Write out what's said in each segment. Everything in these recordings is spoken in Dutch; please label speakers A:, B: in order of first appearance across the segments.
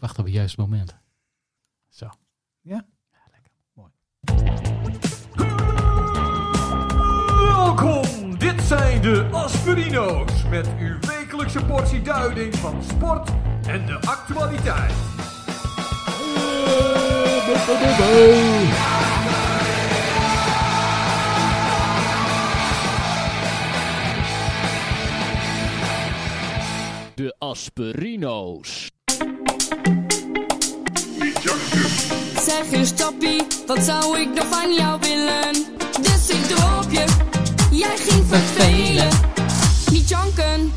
A: Wacht op het juiste moment. Zo.
B: Ja?
A: lekker.
C: Welkom, dit zijn de Aspirino's met uw wekelijkse portie duiding van sport en de actualiteit.
D: De Asperino's.
E: Zeg eens Tappie, wat zou ik nog van jou willen? Dus ik droop je, jij ging vervelen. Niet janken.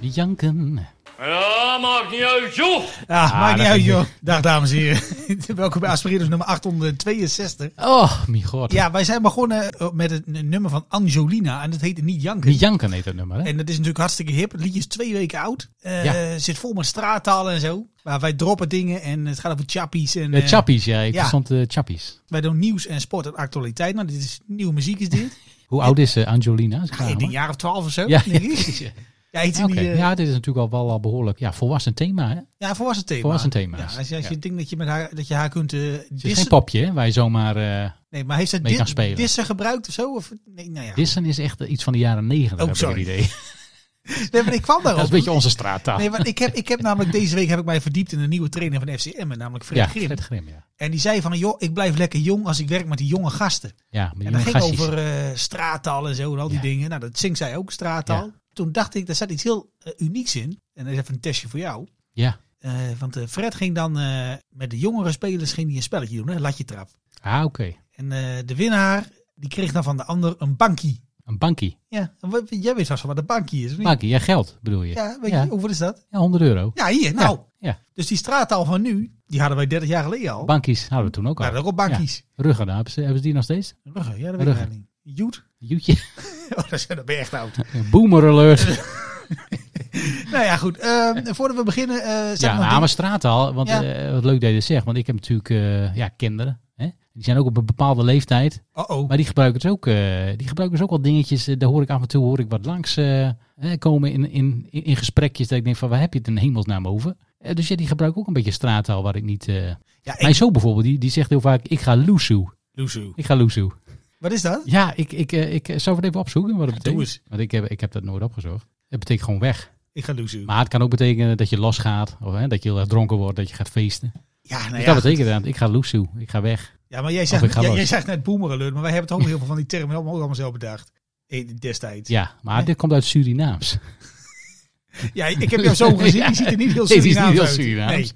A: Die janken.
D: Ja, maakt niet uit, joh.
B: Ja, maakt
A: Ah, dat
B: niet uit
A: vind
B: joh. Dag dames en heren. Welkom bij Aspirinos nummer 862.
A: Oh, mijn god.
B: Ja, wij zijn begonnen eh, met het n- nummer van Angelina en dat heette Niet Janken.
A: Die janken heet dat nummer, hè?
B: En dat is natuurlijk hartstikke hip. Het liedje is twee weken oud. Eh,
A: Ja.
B: Zit vol met straattalen en zo. Maar wij droppen dingen en het gaat over chappies. En,
A: De
B: eh,
A: chappies, ja. Ik
B: ja.
A: verstond de chappies.
B: wij doen nieuws en sport en actualiteit. Nou, dit is nieuwe muziek is dit.
A: Hoe oud is eh, Angelina? Is het
B: Ja,
A: haar,
B: een
A: hoor?
B: jaar of twaalf of zo,
A: Ja,
B: denk ik.
A: precies, ja.
B: Ja, iets in
A: Ja, oké.
B: die, Ah, eh,
A: ja, dit is natuurlijk al wel al behoorlijk ja, volwassen thema. Hè? Het
B: ja, volwassen thema.
A: Volwassen thema
B: Ja,
A: is-
B: als je, als je
A: ja.
B: denkt dat je, met haar, dat je haar kunt eh,
A: is
B: dissen.
A: geen popje hè, waar je zomaar... eh
B: Nee, maar heeft ze
A: mee kan spelen.
B: dit, dissen gebruikt of zo? Of, nee, nou ja.
A: Dissen is echt eh, iets van de jaren negentig,
B: Oh,
A: heb ik het
B: sorry.
A: idee.
B: Nee, maar ik kwam daarop.
A: Dat is een beetje onze straattaal.
B: Nee, want ik heb, ik heb namelijk deze week heb ik mij verdiept in een nieuwe trainer van FCM, namelijk Fred
A: ja,
B: Grim.
A: Fred Grim, ja.
B: En die zei van, joh, ik blijf lekker jong als ik werk met die jonge gasten.
A: Ja, met
B: En
A: jonge
B: dat ging
A: gastjes.
B: over eh, straattaal en zo en al die
A: Ja.
B: dingen. Nou, dat zingt zij ook, straattaal. Toen dacht ik, daar zat iets heel eh, unieks in. En dat is even een testje voor jou.
A: Ja.
B: Eh, want eh, Fred ging dan eh, met de jongere spelers ging die een spelletje doen, hè? latje trap.
A: Ah, oké.
B: En eh, de winnaar, die kreeg dan van de ander een bankie.
A: Een bankie.
B: Ja, en wat- jij weet vast wel wat een bankie is, of niet?
A: Bankie, ja, geld bedoel je.
B: Ja, weet
A: Ja.
B: je, hoeveel is dat?
A: Ja, 100 euro.
B: Ja, hier, nou.
A: Ja.
B: Dus die straattaal van nu, die hadden wij 30 jaar geleden al.
A: Bankies hadden we toen ook
B: Maar
A: al.
B: ook op bankjes.
A: Ruggen, hebben ze, hebben ze die nog steeds?
B: Ruggen, ja, dat weet ik
A: Ruggen.
B: eigenlijk niet. Joet?
A: Joetje.
B: Oh, dat is- dat ben je echt oud.
A: Boomer alert.
B: nou ja, goed. Ehm, voordat we beginnen, eh, zeg
A: ja,
B: nog
A: nou,
B: een
A: maar straattaal. Want
B: Ja.
A: eh, wat leuk dat je dat zegt. Want ik heb natuurlijk eh, ja, kinderen. Hè? Die zijn ook op een bepaalde leeftijd.
B: ding. Oh, oh.
A: Maar die gebruiken dus ook, eh, die gebruiken dus ook wel dingetjes. eh, daar hoor ik af en toe hoor ik wat langs eh, eh, komen in, in, in, in gesprekjes. Dat ik denk van waar heb je het in hemelsnaam over? Eh, dus ja, die gebruiken ook een beetje straattaal waar ik niet... eh
B: Ja, ik,
A: Mijn zoon bijvoorbeeld, die, die zegt heel vaak ik ga loesoe.
B: Loesoe.
A: Ik ga loesoe.
B: Wat is dat?
A: Ja, ik, ik, eh, ik eh, zou het even opzoeken wat het
B: doe
A: betekent. Want ik heb, ik heb dat nooit opgezocht. Het betekent gewoon weg.
B: Ik ga Loesoe.
A: Maar het kan ook betekenen dat je losgaat. Of hè, dat je heel erg dronken wordt, dat je gaat feesten.
B: Ja, nou
A: Dus
B: ja.
A: dat betekent dan, ik ga loesoe. Ik ga weg.
B: ja, maar jij
A: Of
B: zegt,
A: ik ga
B: jij,
A: los.
B: jij zegt net boomeralert, maar wij hebben toch ook heel veel van die termen allemaal, ook allemaal zelf bedacht. Eh, Destijds. Ja.
A: Ja, maar dit komt uit Surinaams.
B: ik heb jou zo gezien. Die ziet er niet heel
A: Nee, die is
B: Surinaams
A: niet
B: uit.
A: heel Surinaams.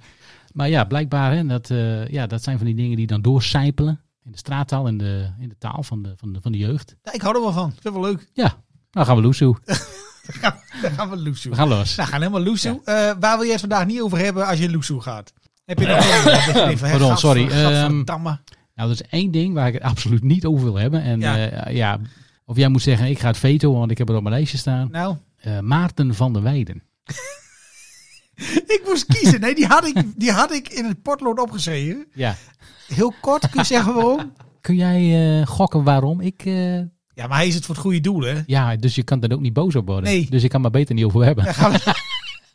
A: Maar ja, blijkbaar, hè, dat, eh, ja, dat zijn van die dingen die dan doorcijpelen in de straattaal, in de, in de taal van de, van, de, van de jeugd.
B: Nee. Ja, ik hou er wel van. Ik vind het wel leuk.
A: Ja, nou gaan we loesoe.
B: Dan gaan we Loesoe.
A: We gaan los.
B: Nou, gaan helemaal loesoe. Eh, waar wil je het vandaag niet over hebben als je loesoe gaat? Heb je nog een
A: Pardon, sorry. ehm,
B: Gadverdamme.
A: Nou, dat is één ding waar ik het absoluut niet over wil hebben. En
B: Ja.
A: ja, ja of jij moet zeggen, ik ga het veto, want ik heb het op mijn lijstje staan.
B: Nou,
A: Eh, Maarten van der Weijden.
B: ik moest kiezen. Nee, die had ik, die had ik in het potlood opgeschreven.
A: Ja.
B: Heel kort, kun je zeggen waarom?
A: Kun jij eh, gokken waarom ik... eh,
B: Ja, maar hij is het voor het goede doel, hè?
A: ja, dus je kan daar ook niet boos op worden.
B: Nee.
A: Dus ik kan maar beter niet over hebben.
B: Gaan we,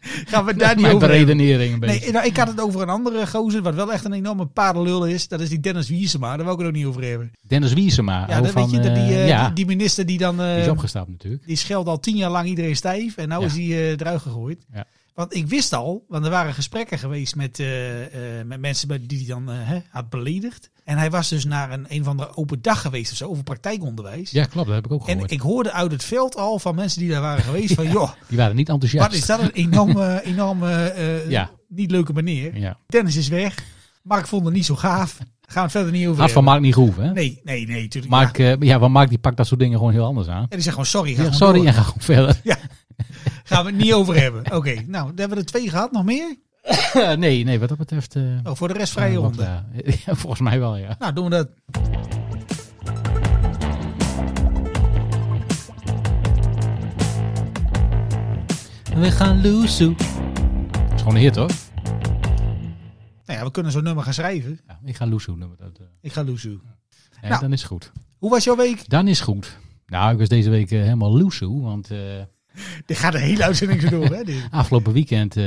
B: gaan we daar niet
A: Mijn
B: over hebben.
A: beredenering een beetje.
B: Nee, nou, ik had het over een andere gozer, wat wel echt een enorme paardenlul is. Dat is die Dennis Wiesema. Daar wil ik het ook niet over hebben.
A: Dennis Wiesema.
B: Ja,
A: oh,
B: dat
A: van,
B: weet je, dat die,
A: eh,
B: eh,
A: ja,
B: die, die minister die dan... eh,
A: die is opgestapt natuurlijk.
B: Die scheldt al tien jaar lang iedereen stijf. En nou
A: Ja.
B: is hij eh, eruit gegooid.
A: Ja.
B: Want ik wist al, want er waren gesprekken geweest met, eh, eh, met mensen bij- die hij dan eh, hè, had beledigd. En hij was dus naar een, een van de open dag geweest of zo, over praktijkonderwijs.
A: Ja, klopt. Dat heb ik ook
B: en
A: gehoord.
B: ik hoorde uit het veld al van mensen die daar waren geweest van, joh,
A: Die waren niet enthousiast.
B: wat is dat een enorme, enorme eh,
A: Ja.
B: niet leuke manier.
A: Ja.
B: Dennis is weg. Mark vond het niet zo gaaf. Gaan we het verder niet over
A: Had van
B: hebben.
A: Mark niet gehoeven, hè?
B: Nee, nee, nee, natuurlijk.
A: Mark, eh, ja, want Mark die pakt dat soort dingen gewoon heel anders aan.
B: En die zegt gewoon, sorry, ga
A: Ja,
B: gewoon
A: sorry,
B: door.
A: en ga gewoon verder.
B: Gaan we het niet over hebben. Oké, nou, daar hebben we er twee gehad. Nog meer?
A: nee, nee, wat dat betreft... eh,
B: Oh, voor de rest vrije
A: eh, wat,
B: ronde.
A: eh, ja, volgens mij wel, ja.
B: Nou, doen we dat.
A: We gaan loesoe. Dat is gewoon een hit, hoor.
B: Nou ja, we kunnen zo'n nummer gaan schrijven.
A: Ja, ik ga loesoe noemen. Dat, eh,
B: Ik ga loesoe.
A: nee,
B: Nou.
A: Dan is het goed.
B: Hoe was jouw week?
A: Dan is het goed. Nou, ik was deze week eh, helemaal loesoe, want... eh,
B: Dit gaat de hele uitzending zo door, hè? dit.
A: Afgelopen weekend, eh,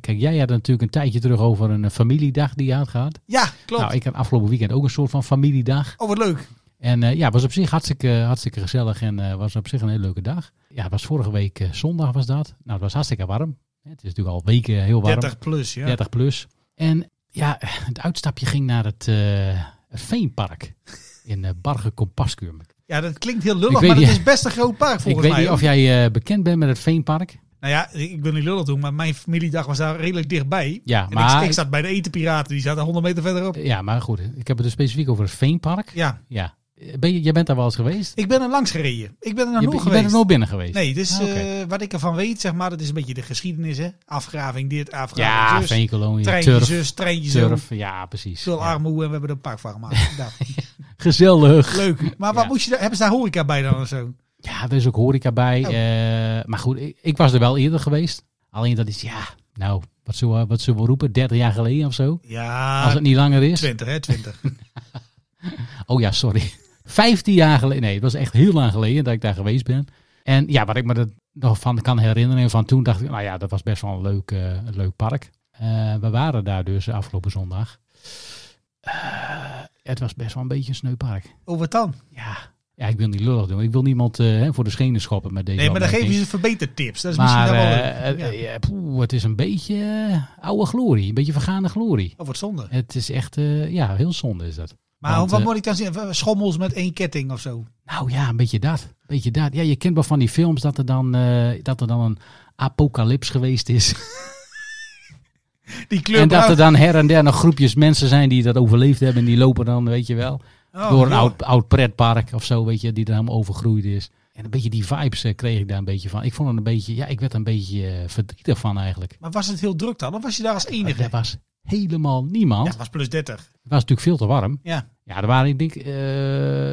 A: kijk, jij had het natuurlijk een tijdje terug over een eh, familiedag die je had gehad.
B: Ja, klopt.
A: Nou, ik had afgelopen weekend ook een soort van familiedag.
B: Oh, wat leuk.
A: En eh, ja, was op zich hartstikke, hartstikke gezellig en eh, was op zich een hele leuke dag. Ja, het was vorige week eh, zondag was dat. Nou, het was hartstikke warm. Het is natuurlijk al weken heel warm.
B: 30 plus, ja.
A: 30 plus. En ja, het uitstapje ging naar het eh, het Veenpark in eh, Barge Kompaskuur.
B: Ja, dat klinkt heel
A: Ik
B: lullig,
A: weet
B: maar het
A: niet-
B: is best een groot park
A: Ik
B: volgens
A: weet
B: mij.
A: niet of
B: hoor.
A: jij eh, bekend bent met het Veenpark.
B: Nou ja, ik wil niet lullig doen, maar mijn familiedag was daar redelijk dichtbij.
A: Ja,
B: en
A: maar-
B: ik, ik zat bij de etenpiraten, die zaten 100 meter verderop.
A: Ja, maar goed, ik heb het dus specifiek over het Veenpark.
B: Ja,
A: Ja. Eh, Ben je, jij bent daar wel eens geweest?
B: ik ben er langs gereden. Ik ben er nog
A: je,
B: nooit
A: je
B: geweest.
A: bent er nooit binnen geweest?
B: Nee, dus
A: Ah, oké.
B: eh, wat ik ervan weet, zeg maar, dat is een beetje de geschiedenis, hè. Afgraving dit, afgraving
A: ja,
B: zus.
A: Veenkolonie,
B: Treintje
A: turf,
B: zus, treintje zo.
A: turf. Ja, precies.
B: Veel
A: Ja.
B: armoe en we hebben er een park van gemaakt. Nou,
A: Gezellig.
B: leuk. Maar wat
A: Ja.
B: moest je daar, hebben ze daar horeca bij dan of zo?
A: Ja, er is ook horeca bij.
B: Oh.
A: eh, maar goed, ik, ik was er wel eerder geweest. Alleen dat is, ja, nou, wat zullen we, wat zullen we roepen? 30 jaar geleden of zo?
B: Ja,
A: Als het niet langer is.
B: 20 hè, 20.
A: Oh ja, sorry. 15 jaar geleden. Nee, het was echt heel lang geleden dat ik daar geweest ben. En ja, wat ik me er nog van kan herinneren van toen dacht ik, nou ja, dat was best wel een leuk, eh, een leuk park. Eh, we waren daar dus afgelopen zondag. Eh, het was best wel een beetje een sneu park.
B: Oh, wat dan?
A: Ja. ja, ik wil niet lullig doen. Ik wil niemand eh, hè, voor de schenen schoppen met deze
B: Nee, maar dan
A: opmerking.
B: geven ze verbetertips. Dat is misschien
A: Maar
B: wel wel
A: eh,
B: leuk.
A: eh,
B: Ja.
A: eh, poeh, het is een beetje eh, oude glorie. Een beetje vergane glorie.
B: Oh, wat zonde.
A: Het is echt, eh, ja, heel zonde is dat.
B: Maar
A: Want,
B: wat
A: eh,
B: moet ik dan zien? Schommels met één ketting of zo.
A: Nou ja, een beetje dat. Een beetje dat. Ja, je kent wel van die films dat er dan, eh, dat er dan een apocalyps geweest is.
B: Die kleur
A: en dat er dan her en der nog groepjes mensen zijn die dat overleefd hebben. En die lopen dan, weet je wel,
B: Oh,
A: door een
B: joh.
A: oud, oud pretpark of zo, weet je, die er helemaal overgroeid is. En een beetje die vibes eh, kreeg ik daar een beetje van. Ik vond het een beetje, ja, ik werd er een beetje eh, verdrietig van eigenlijk.
B: Maar was het heel druk dan? Of was je daar als enige?
A: Er
B: Ja,
A: was helemaal niemand.
B: het was plus 30.
A: Het was natuurlijk veel te warm.
B: Ja.
A: Ja, er waren, ik denk, eh,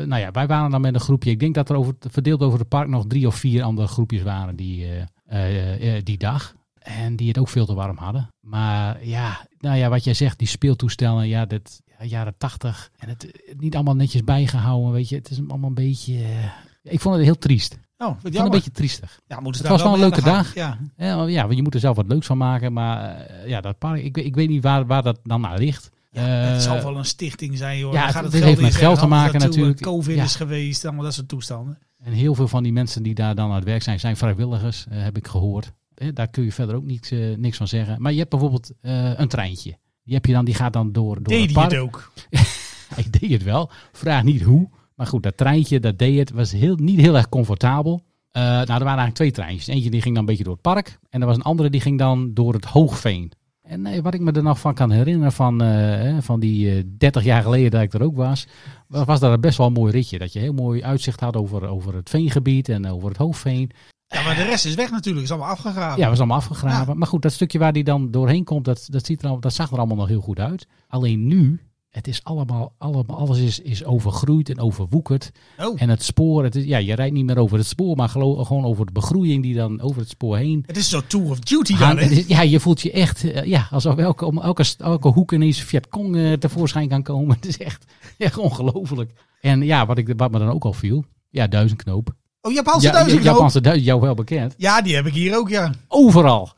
A: nou ja, wij waren dan met een groepje. Ik denk dat er over, verdeeld over het park nog drie of vier andere groepjes waren die, eh, eh, eh, die dag. En die het ook veel te warm hadden. Maar ja, nou ja, wat jij zegt, die speeltoestellen, ja, dat ja, jaren tachtig. En het eh, niet allemaal netjes bijgehouden, weet je. Het is allemaal een beetje, eh, ik vond het heel triest. Ik
B: Oh, wat
A: vond het een
B: jammer.
A: beetje triestig.
B: ja, moeten ze
A: het was
B: daar
A: wel een
B: mee
A: leuke
B: aan de gang. Ja.
A: Ja, want- ja, want je moet er zelf wat leuks van maken. Maar eh, ja, dat park, ik, weet- ik weet niet waar, waar dat dan naar ligt.
B: Ja, het
A: Eh,
B: zal wel een stichting zijn, joh.
A: ja,
B: Dan
A: het-
B: gaat het
A: dit
B: geld
A: heeft met
B: in,
A: geld
B: ergens
A: te maken
B: naartoe,
A: natuurlijk.
B: eh, Covid
A: Ja.
B: is geweest, allemaal dat soort toestanden.
A: En heel veel van die mensen die daar dan aan het werk zijn, zijn vrijwilligers, eh, heb ik gehoord. Eh, daar kun je verder ook niks, eh, niks van zeggen. Maar je hebt bijvoorbeeld eh, een treintje. Die, heb je dan, die gaat dan door, door
B: Deed
A: het
B: hij
A: park.
B: het ook?
A: Ik deed het wel. Vraag niet hoe. Maar goed, dat treintje, dat deed het. Was heel, niet heel erg comfortabel. Eh, nou, er waren eigenlijk twee treintjes. Eentje die ging dan een beetje door het park. En er was een andere die ging dan door het Hoogveen. En nee, wat ik me er nog van kan herinneren van, eh, eh, van die eh, 30 jaar geleden dat ik er ook was. wa- Was dat een best wel een mooi ritje. Dat je heel mooi uitzicht had over, over het veengebied en over het Hoogveen.
B: Ja, maar de rest is weg natuurlijk. Is allemaal afgegraven.
A: Ja, was allemaal afgegraven. Maar goed, dat stukje waar die dan doorheen komt, dat, dat, ziet er al, dat zag er allemaal nog heel goed uit. Alleen nu, het is allemaal, allemaal alles is, is overgroeid en overwoekerd.
B: Oh,
A: En het spoor, het is, ja, je rijdt niet meer over het spoor, maar gelo- gewoon over de begroeiing die dan over het spoor heen.
B: het is zo'n Tour of Duty dan,
A: hangt.
B: hè?
A: Het is- ja, je voelt je echt eh, ja, alsof elke, om elke, st- elke hoek ineens Vietcong eh tevoorschijn kan komen. Het is echt, echt ongelooflijk. En ja, wat, ik, wat me dan ook al viel, ja, duizendknoop.
B: Oh, Japanse
A: Ja,
B: duizend.
A: Japanse duizend, jou wel bekend.
B: Ja, die heb ik hier ook, ja.
A: Overal.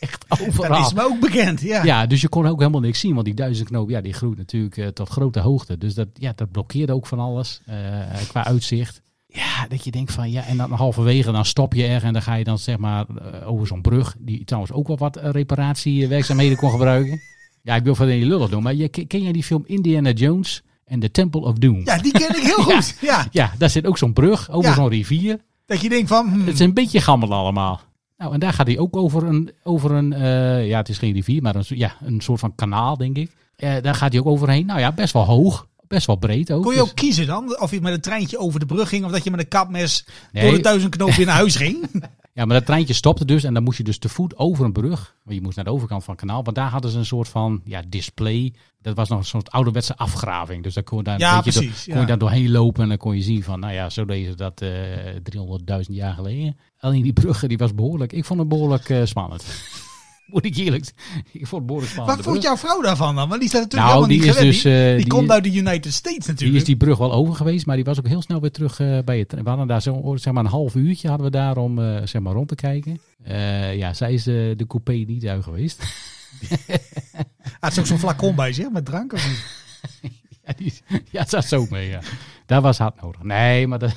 A: echt overal.
B: Dat is me ook bekend, ja.
A: Ja, dus je kon ook helemaal niks zien, want die duizendknoop, ja, die groeit natuurlijk eh, tot grote hoogte. Dus dat, ja, dat blokkeerde ook van alles eh, qua uitzicht. Ja, dat je denkt van ja, en dan halverwege, dan stop je er en dan ga je dan zeg maar eh, over zo'n brug, die trouwens ook wel wat eh, reparatiewerkzaamheden kon gebruiken. Ja, ik wil verder niet lullig doen, maar je, ken ken jij die film Indiana Jones en The Temple of Doom?
B: Ja, die ken ik heel goed. Ja.
A: Ja, daar zit ook zo'n brug over
B: Ja.
A: zo'n rivier.
B: Dat je denkt van, hmm,
A: Het is een beetje gammel allemaal. Nou, en daar gaat hij ook over een, over een eh, ja, het is geen rivier, maar een, so- ja, een soort van kanaal, denk ik. Eh, daar gaat hij ook overheen. Nou ja, best wel hoog. Best wel breed ook.
B: kon je ook
A: Dus-
B: kiezen dan? Of je met een treintje over de brug ging, of dat je met een kapmes
A: Nee.
B: door de duizendknoop weer naar huis ging?
A: ja, maar dat treintje stopte dus en dan moest je dus te voet over een brug. Want je moest naar de overkant van het kanaal. Want daar hadden ze een soort van ja, display. Dat was nog een soort ouderwetse afgraving. Dus daar kon je daar,
B: Ja,
A: een beetje
B: precies,
A: door-
B: ja.
A: kon je daar doorheen lopen. En dan kon je zien van, nou ja, zo deden ze dat eh 300.000 jaar geleden. Alleen die bruggen, die was behoorlijk, ik vond het behoorlijk eh, spannend. Moet ik eerlijk Ik vond Boris van
B: Wat
A: den
B: vond
A: Brug-
B: jouw vrouw daarvan dan? Want die staat natuurlijk
A: Nou,
B: helemaal
A: die
B: niet
A: is
B: gewend.
A: dus,
B: die
A: eh,
B: die
A: die-
B: komt uit de United States
A: Die
B: natuurlijk.
A: is die brug wel over geweest, maar die was ook heel snel weer terug eh, bij het. We hadden daar zo, zeg maar een half uurtje hadden we daar om eh, zeg maar rond te kijken. Eh, ja, zij is eh, de coupé niet uit geweest.
B: Had ze ook zo'n flacon bij zich met drank of niet?
A: ja, die, is- ja, dat zat zo mee. Ja. Daar was hard nodig. Nee, maar dat,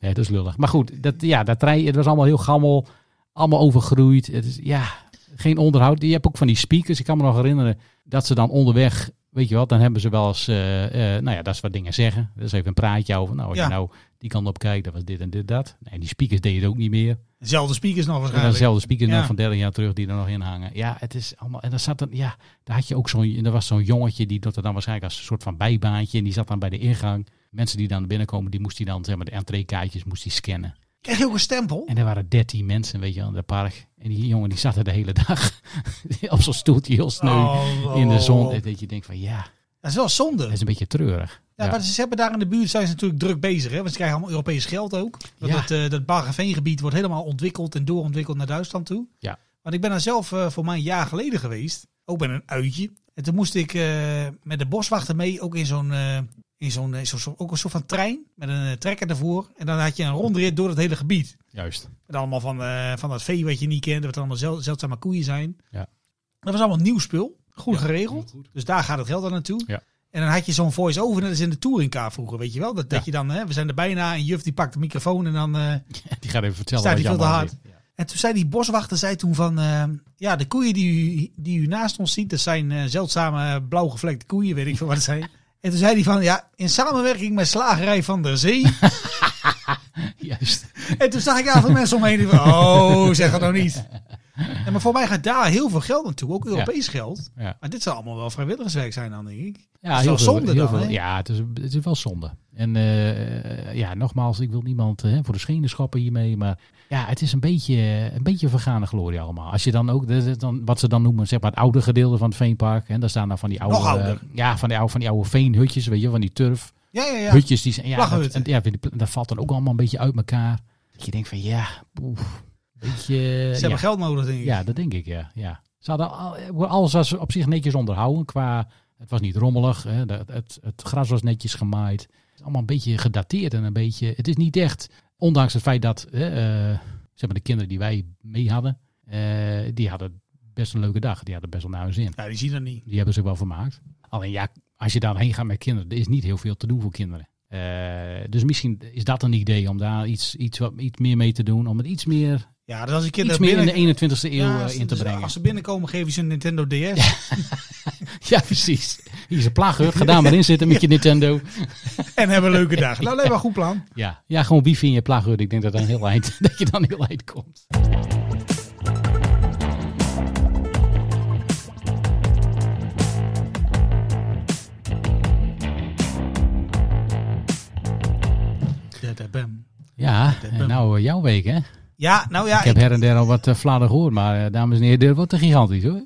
A: nee, dat is lullig. Maar goed, dat, ja, dat trein, het was allemaal heel gammel, allemaal overgroeid. Het is, ja, geen onderhoud. Je hebt ook van die speakers. Ik kan me nog herinneren dat ze dan onderweg, weet je wat, dan hebben ze wel eens, eh, eh, nou ja, dat is wat dingen zeggen. Dat is even een praatje over, nou, als
B: Ja.
A: je nou die kant op kijkt, dat was dit en dit, dat. En die speakers deden het ook niet meer.
B: Dezelfde speakers nog
A: En dan
B: waarschijnlijk.
A: dezelfde speakers
B: Ja.
A: nog van 30 jaar terug die er nog in hangen. Ja, het is allemaal. En dan zat dan, ja, daar had je ook zo'n. en Er was zo'n jongetje die dat er dan waarschijnlijk als een soort van bijbaantje. En die zat dan bij de ingang. Mensen die dan binnenkomen, die moest hij dan, zeg maar, de entreekaartjes moest hij scannen.
B: Krijg je ook een stempel?
A: En er waren 13 mensen, weet je, aan het park. En die jongen die zat er de hele dag op zo'n stoeltje heel sneu
B: Oh, oh,
A: in de zon.
B: oh.
A: En dat je denkt van ja,
B: Dat is wel zonde.
A: dat is een beetje treurig.
B: Ja, Maar ze hebben daar in de buurt zijn ze natuurlijk druk bezig. Hè? Want ze krijgen allemaal Europees geld ook. Want
A: Ja.
B: dat, eh dat Bargeveengebied wordt helemaal ontwikkeld en doorontwikkeld naar Duitsland toe.
A: Ja.
B: Want ik ben daar zelf eh, voor mij een jaar geleden geweest. Ook bij een uitje. En toen moest ik eh, met de boswachter mee. Ook in zo'n... eh, in zo'n, eh, zo, zo- ook een soort van trein met een eh, trekker ervoor. En dan had je een rondrit door het hele gebied.
A: Juist.
B: Met allemaal van, eh, van dat vee wat je niet kent. Wat allemaal zel, zeldzame koeien zijn.
A: Ja.
B: Dat was allemaal nieuw spul. Goed
A: Ja,
B: geregeld.
A: heel goed.
B: Dus daar gaat het geld aan naartoe.
A: Ja.
B: En dan had je zo'n voice-over. Dat is in de touringcar vroeger, weet je wel. Dat, dat
A: Ja.
B: je dan, hè, we zijn er bijna. En juf die pakt de microfoon en dan... eh,
A: Die gaat even vertellen.
B: Staat
A: wat
B: die
A: je
B: veel te
A: allemaal
B: hard?
A: deed. Ja.
B: en toen zei die boswachter zei toen van... eh, ja, de koeien die u, die u naast ons ziet, dat zijn eh, zeldzame eh, blauw gevlekte koeien, weet ik veel wat het zijn. En toen zei hij van, ja, in samenwerking met Slagerij van der Zee.
A: Juist.
B: En toen zag ik daar veel mensen omheen die van, oh, zeg dat nou niet. Ja, maar voor mij gaat daar heel veel geld naartoe, ook Europees geld.
A: Ja.
B: Maar dit zal allemaal wel vrijwilligerswerk zijn dan, denk ik.
A: Ja,
B: is
A: heel
B: wel
A: veel,
B: zonde
A: heel
B: dan,
A: veel-
B: hè?
A: Ja, het is, het is wel zonde. En eh, ja, nogmaals, ik wil niemand eh, voor de schenen schappen hiermee. Maar ja, het is een beetje, een beetje vergane glorie allemaal. Als je dan ook, dat is dan, wat ze dan noemen, zeg maar het oude gedeelte van het veenpark. En daar staan dan van die oude,
B: Nog ouder.
A: eh, ja, van die oude, van die oude veenhutjes, weet je, van die turf
B: Ja, ja, ja.
A: hutjes die zijn. Ja, dat,
B: Plaggenhutten.
A: en, ja, die pla- dat valt dan ook allemaal een beetje uit elkaar. Dat je denkt van ja, oef, een beetje.
B: Ze
A: ja.
B: hebben geld nodig, denk ik.
A: Ja, dat denk ik, ja. ja. Ze hadden al- eh, alles was op zich netjes onderhouden. Qua, het was niet rommelig, hè. de- Het, het gras was netjes gemaaid. Het is Allemaal een beetje gedateerd en een beetje... Het is niet echt, ondanks het feit dat hè, eh, zeg maar de kinderen die wij mee hadden... eh, die hadden best een leuke dag. Die hadden best wel naar hun zin.
B: Ja, die zien dat niet.
A: Die hebben zich wel vermaakt. Alleen ja, als je daarheen gaat met kinderen, er is niet heel veel te doen voor kinderen. Eh, dus misschien is dat een idee om daar iets, iets, wat, iets meer mee te doen. Om het iets meer,
B: Ja, dus als die
A: iets
B: kinderen
A: meer
B: binnen...
A: in de 21ste eeuw
B: Ja,
A: eh,
B: als-
A: in te
B: dus
A: brengen.
B: Als ze binnenkomen, geven ze een Nintendo DS.
A: Ja, precies. Hier is een plaaghut. Ga daar maar in zitten met je Nintendo.
B: En hebben een leuke dag. Nou, alleen maar goed plan.
A: Ja, ja gewoon wifi in je plaaghut. Ik denk dat, dan heel eind, dat je dan heel eind komt.
B: Dadabam.
A: Ja, en nou eh, jouw week hè.
B: Ja, nou ja,
A: Ik heb
B: ik-
A: her en der al wat uh, gehoord. Maar eh, dames en heren, dit wordt te gigantisch hoor.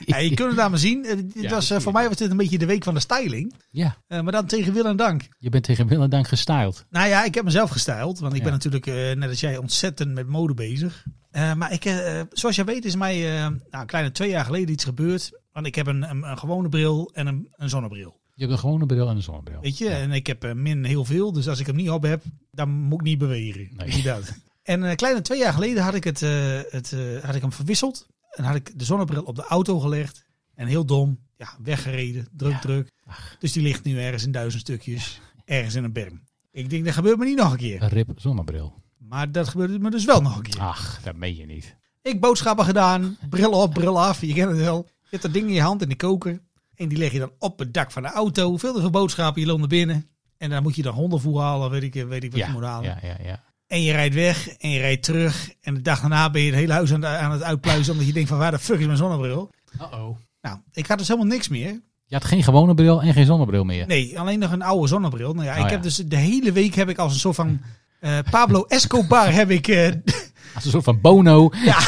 B: ja, je kunt het aan me zien. Eh, dit
A: Ja,
B: was, eh,
A: ik-
B: voor mij was dit een beetje de week van de styling.
A: Ja,
B: Eh, maar dan tegen wil en dank.
A: je bent tegen wil en dank gestyled.
B: Nou ja, ik heb mezelf gestyled. Want ik
A: Ja.
B: ben natuurlijk, eh, net als jij, ontzettend met mode bezig. Eh, maar ik, eh, zoals jij weet is mij eh, nou, een kleine twee jaar geleden iets gebeurd. Want ik heb een, een, een gewone bril en een, een zonnebril.
A: Je hebt een gewone bril en een zonnebril.
B: Weet je? En ik heb eh, min heel veel. Dus als ik hem niet op heb, dan moet ik niet bewegen.
A: Nee.
B: Niet dat. En een kleine twee jaar geleden had ik, het, eh, het, eh, had ik hem verwisseld. En had ik de zonnebril op de auto gelegd. En heel dom, ja, weggereden. Druk,
A: Ja.
B: druk.
A: Ach.
B: Dus die ligt nu ergens in duizend stukjes. Ergens in een berm. Ik denk, dat gebeurt me niet nog een keer.
A: Een rip zonnebril.
B: Maar dat gebeurde me dus wel nog een keer.
A: Ach, dat meen je niet.
B: Ik boodschappen gedaan, bril op, bril af, je kent het wel. Je hebt dat ding in je hand in de koker. En die leg je dan op het dak van de auto. Veel te veel boodschappen, je loopt naar binnen. En dan moet je dan hondenvoer halen, weet ik, weet ik wat
A: Ja,
B: je moet halen.
A: ja, ja, ja.
B: En je rijdt weg en je rijdt terug. En de dag daarna ben je het hele huis aan, aan het uitpluizen. omdat je denkt van waar de fuck is mijn zonnebril?
A: Uh-oh.
B: Nou, ik had dus helemaal niks meer.
A: Je had geen gewone bril en geen zonnebril meer.
B: Nee, alleen nog een oude zonnebril. Nou ja,
A: Oh
B: ik
A: ja.
B: heb dus de hele week heb ik als een soort van eh, Pablo Escobar heb ik eh,
A: Als een soort van bono.
B: Ja,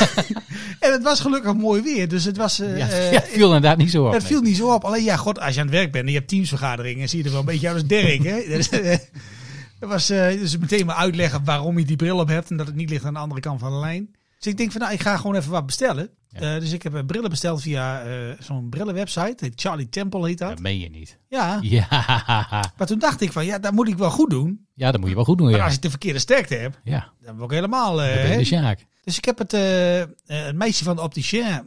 B: en het was gelukkig mooi weer. Dus het was. eh,
A: Ja,
B: eh,
A: ja, viel inderdaad niet zo op.
B: het
A: nee.
B: viel niet zo op. Alleen ja, god, als je aan het werk bent en je hebt teamsvergaderingen, zie je er wel een beetje uit als Dirk. Hè? Dus, eh, Dat was eh, dus meteen maar uitleggen waarom je die bril op hebt en dat het niet ligt aan de andere kant van de lijn. Dus ik denk van, nou, ik ga gewoon even wat bestellen.
A: Ja.
B: Eh, dus ik heb eh, brillen besteld via eh, zo'n brillenwebsite. Heet Charlie Temple heet dat.
A: Dat meen je niet.
B: Ja.
A: Ja.
B: Maar toen dacht ik van, ja, dat moet ik wel goed doen.
A: ja, dat moet je wel goed doen.
B: Maar
A: Ja,
B: als ik de verkeerde sterkte heb,
A: ja.
B: dan ben ik helemaal... eh,
A: dat ben je
B: hè.
A: de Sjaak.
B: Dus ik heb het, eh, eh, het meisje van de opticien eh,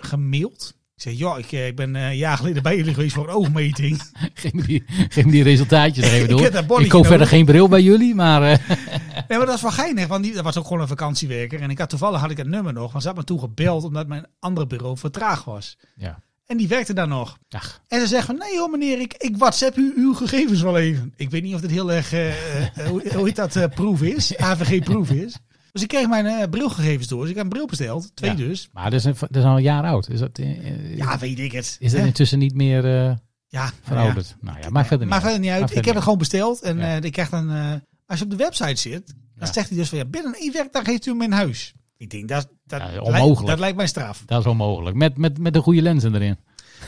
B: gemaild. Ik zei, ja, ik, eh, ik ben eh, een jaar geleden bij jullie geweest voor een oogmeting.
A: Geef me die, geef me die resultaatjes er even
B: Ik
A: door.
B: heb dat bonnetje
A: koop verder
B: nodig.
A: geen bril bij jullie, maar eh,
B: Nee, maar dat is wel geinig, want die, dat was ook gewoon een vakantiewerker. En ik had, toevallig had ik het nummer nog, maar ze had me toen gebeld omdat mijn andere bureau vertraagd was.
A: ja.
B: En die werkte daar nog.
A: Ach,
B: En ze zegt van, nee joh meneer, ik, ik whatsapp u uw gegevens wel even. Ik weet niet of dit heel erg, eh, eh, hoe, hoe heet dat, eh, proef is, AVG-proef is. Dus ik kreeg mijn eh, brilgegevens door, dus ik heb een bril besteld, twee
A: Ja.
B: dus.
A: maar dat is, een, dat is al een jaar oud. Is dat, eh, eh,
B: Ja, weet ik het.
A: is dat
B: Hè?
A: intussen niet meer eh,
B: ja, nou ja.
A: verouderd? Nou ja, maar verder niet.
B: Maar verder niet uit.
A: Maakt
B: ik heb
A: verder
B: het gewoon besteld en
A: Ja.
B: eh, ik krijg dan, eh, als je op de website zit, dan
A: Ja.
B: zegt hij dus van, ja, binnen één werkdag heeft u hem in huis. Ik denk, dat, dat,
A: Ja,
B: lijkt-
A: onmogelijk.
B: dat lijkt mij straf.
A: Dat is onmogelijk. Met, met, met de goede lenzen erin.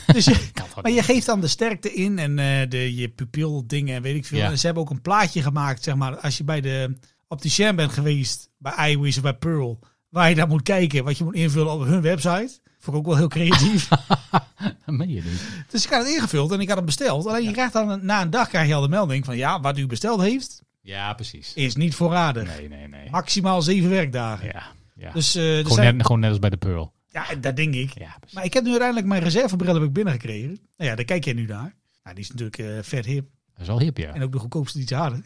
B: Dus je-
A: Kan toch
B: maar je
A: niet?
B: geeft dan de sterkte in en eh, de, je pupil dingen en weet ik veel.
A: Ja.
B: En ze hebben ook een plaatje gemaakt, zeg maar, als je bij de opticien bent geweest, bij iWish of bij Pearl, waar je naar moet kijken, wat je moet invullen op hun website. Vond ik ook wel heel creatief.
A: Dat meen je niet.
B: dus ik had het ingevuld en ik had het besteld. Alleen je krijgt dan een- na een dag krijg je al de melding van ja, wat u besteld heeft,
A: Ja, precies.
B: is niet voorradig.
A: Nee, nee, nee.
B: Maximaal zeven werkdagen.
A: Ja, ja.
B: Dus, eh, er
A: gewoon,
B: zijn-
A: net, gewoon net als bij de Pearl.
B: ja, dat denk ik.
A: Ja, precies.
B: Maar ik heb nu uiteindelijk mijn reservebril heb ik binnengekregen. Nou ja, daar kijk jij nu naar. Nou, die is natuurlijk eh, vet hip.
A: Dat is wel hip, ja.
B: En ook de goedkoopste die ze hadden.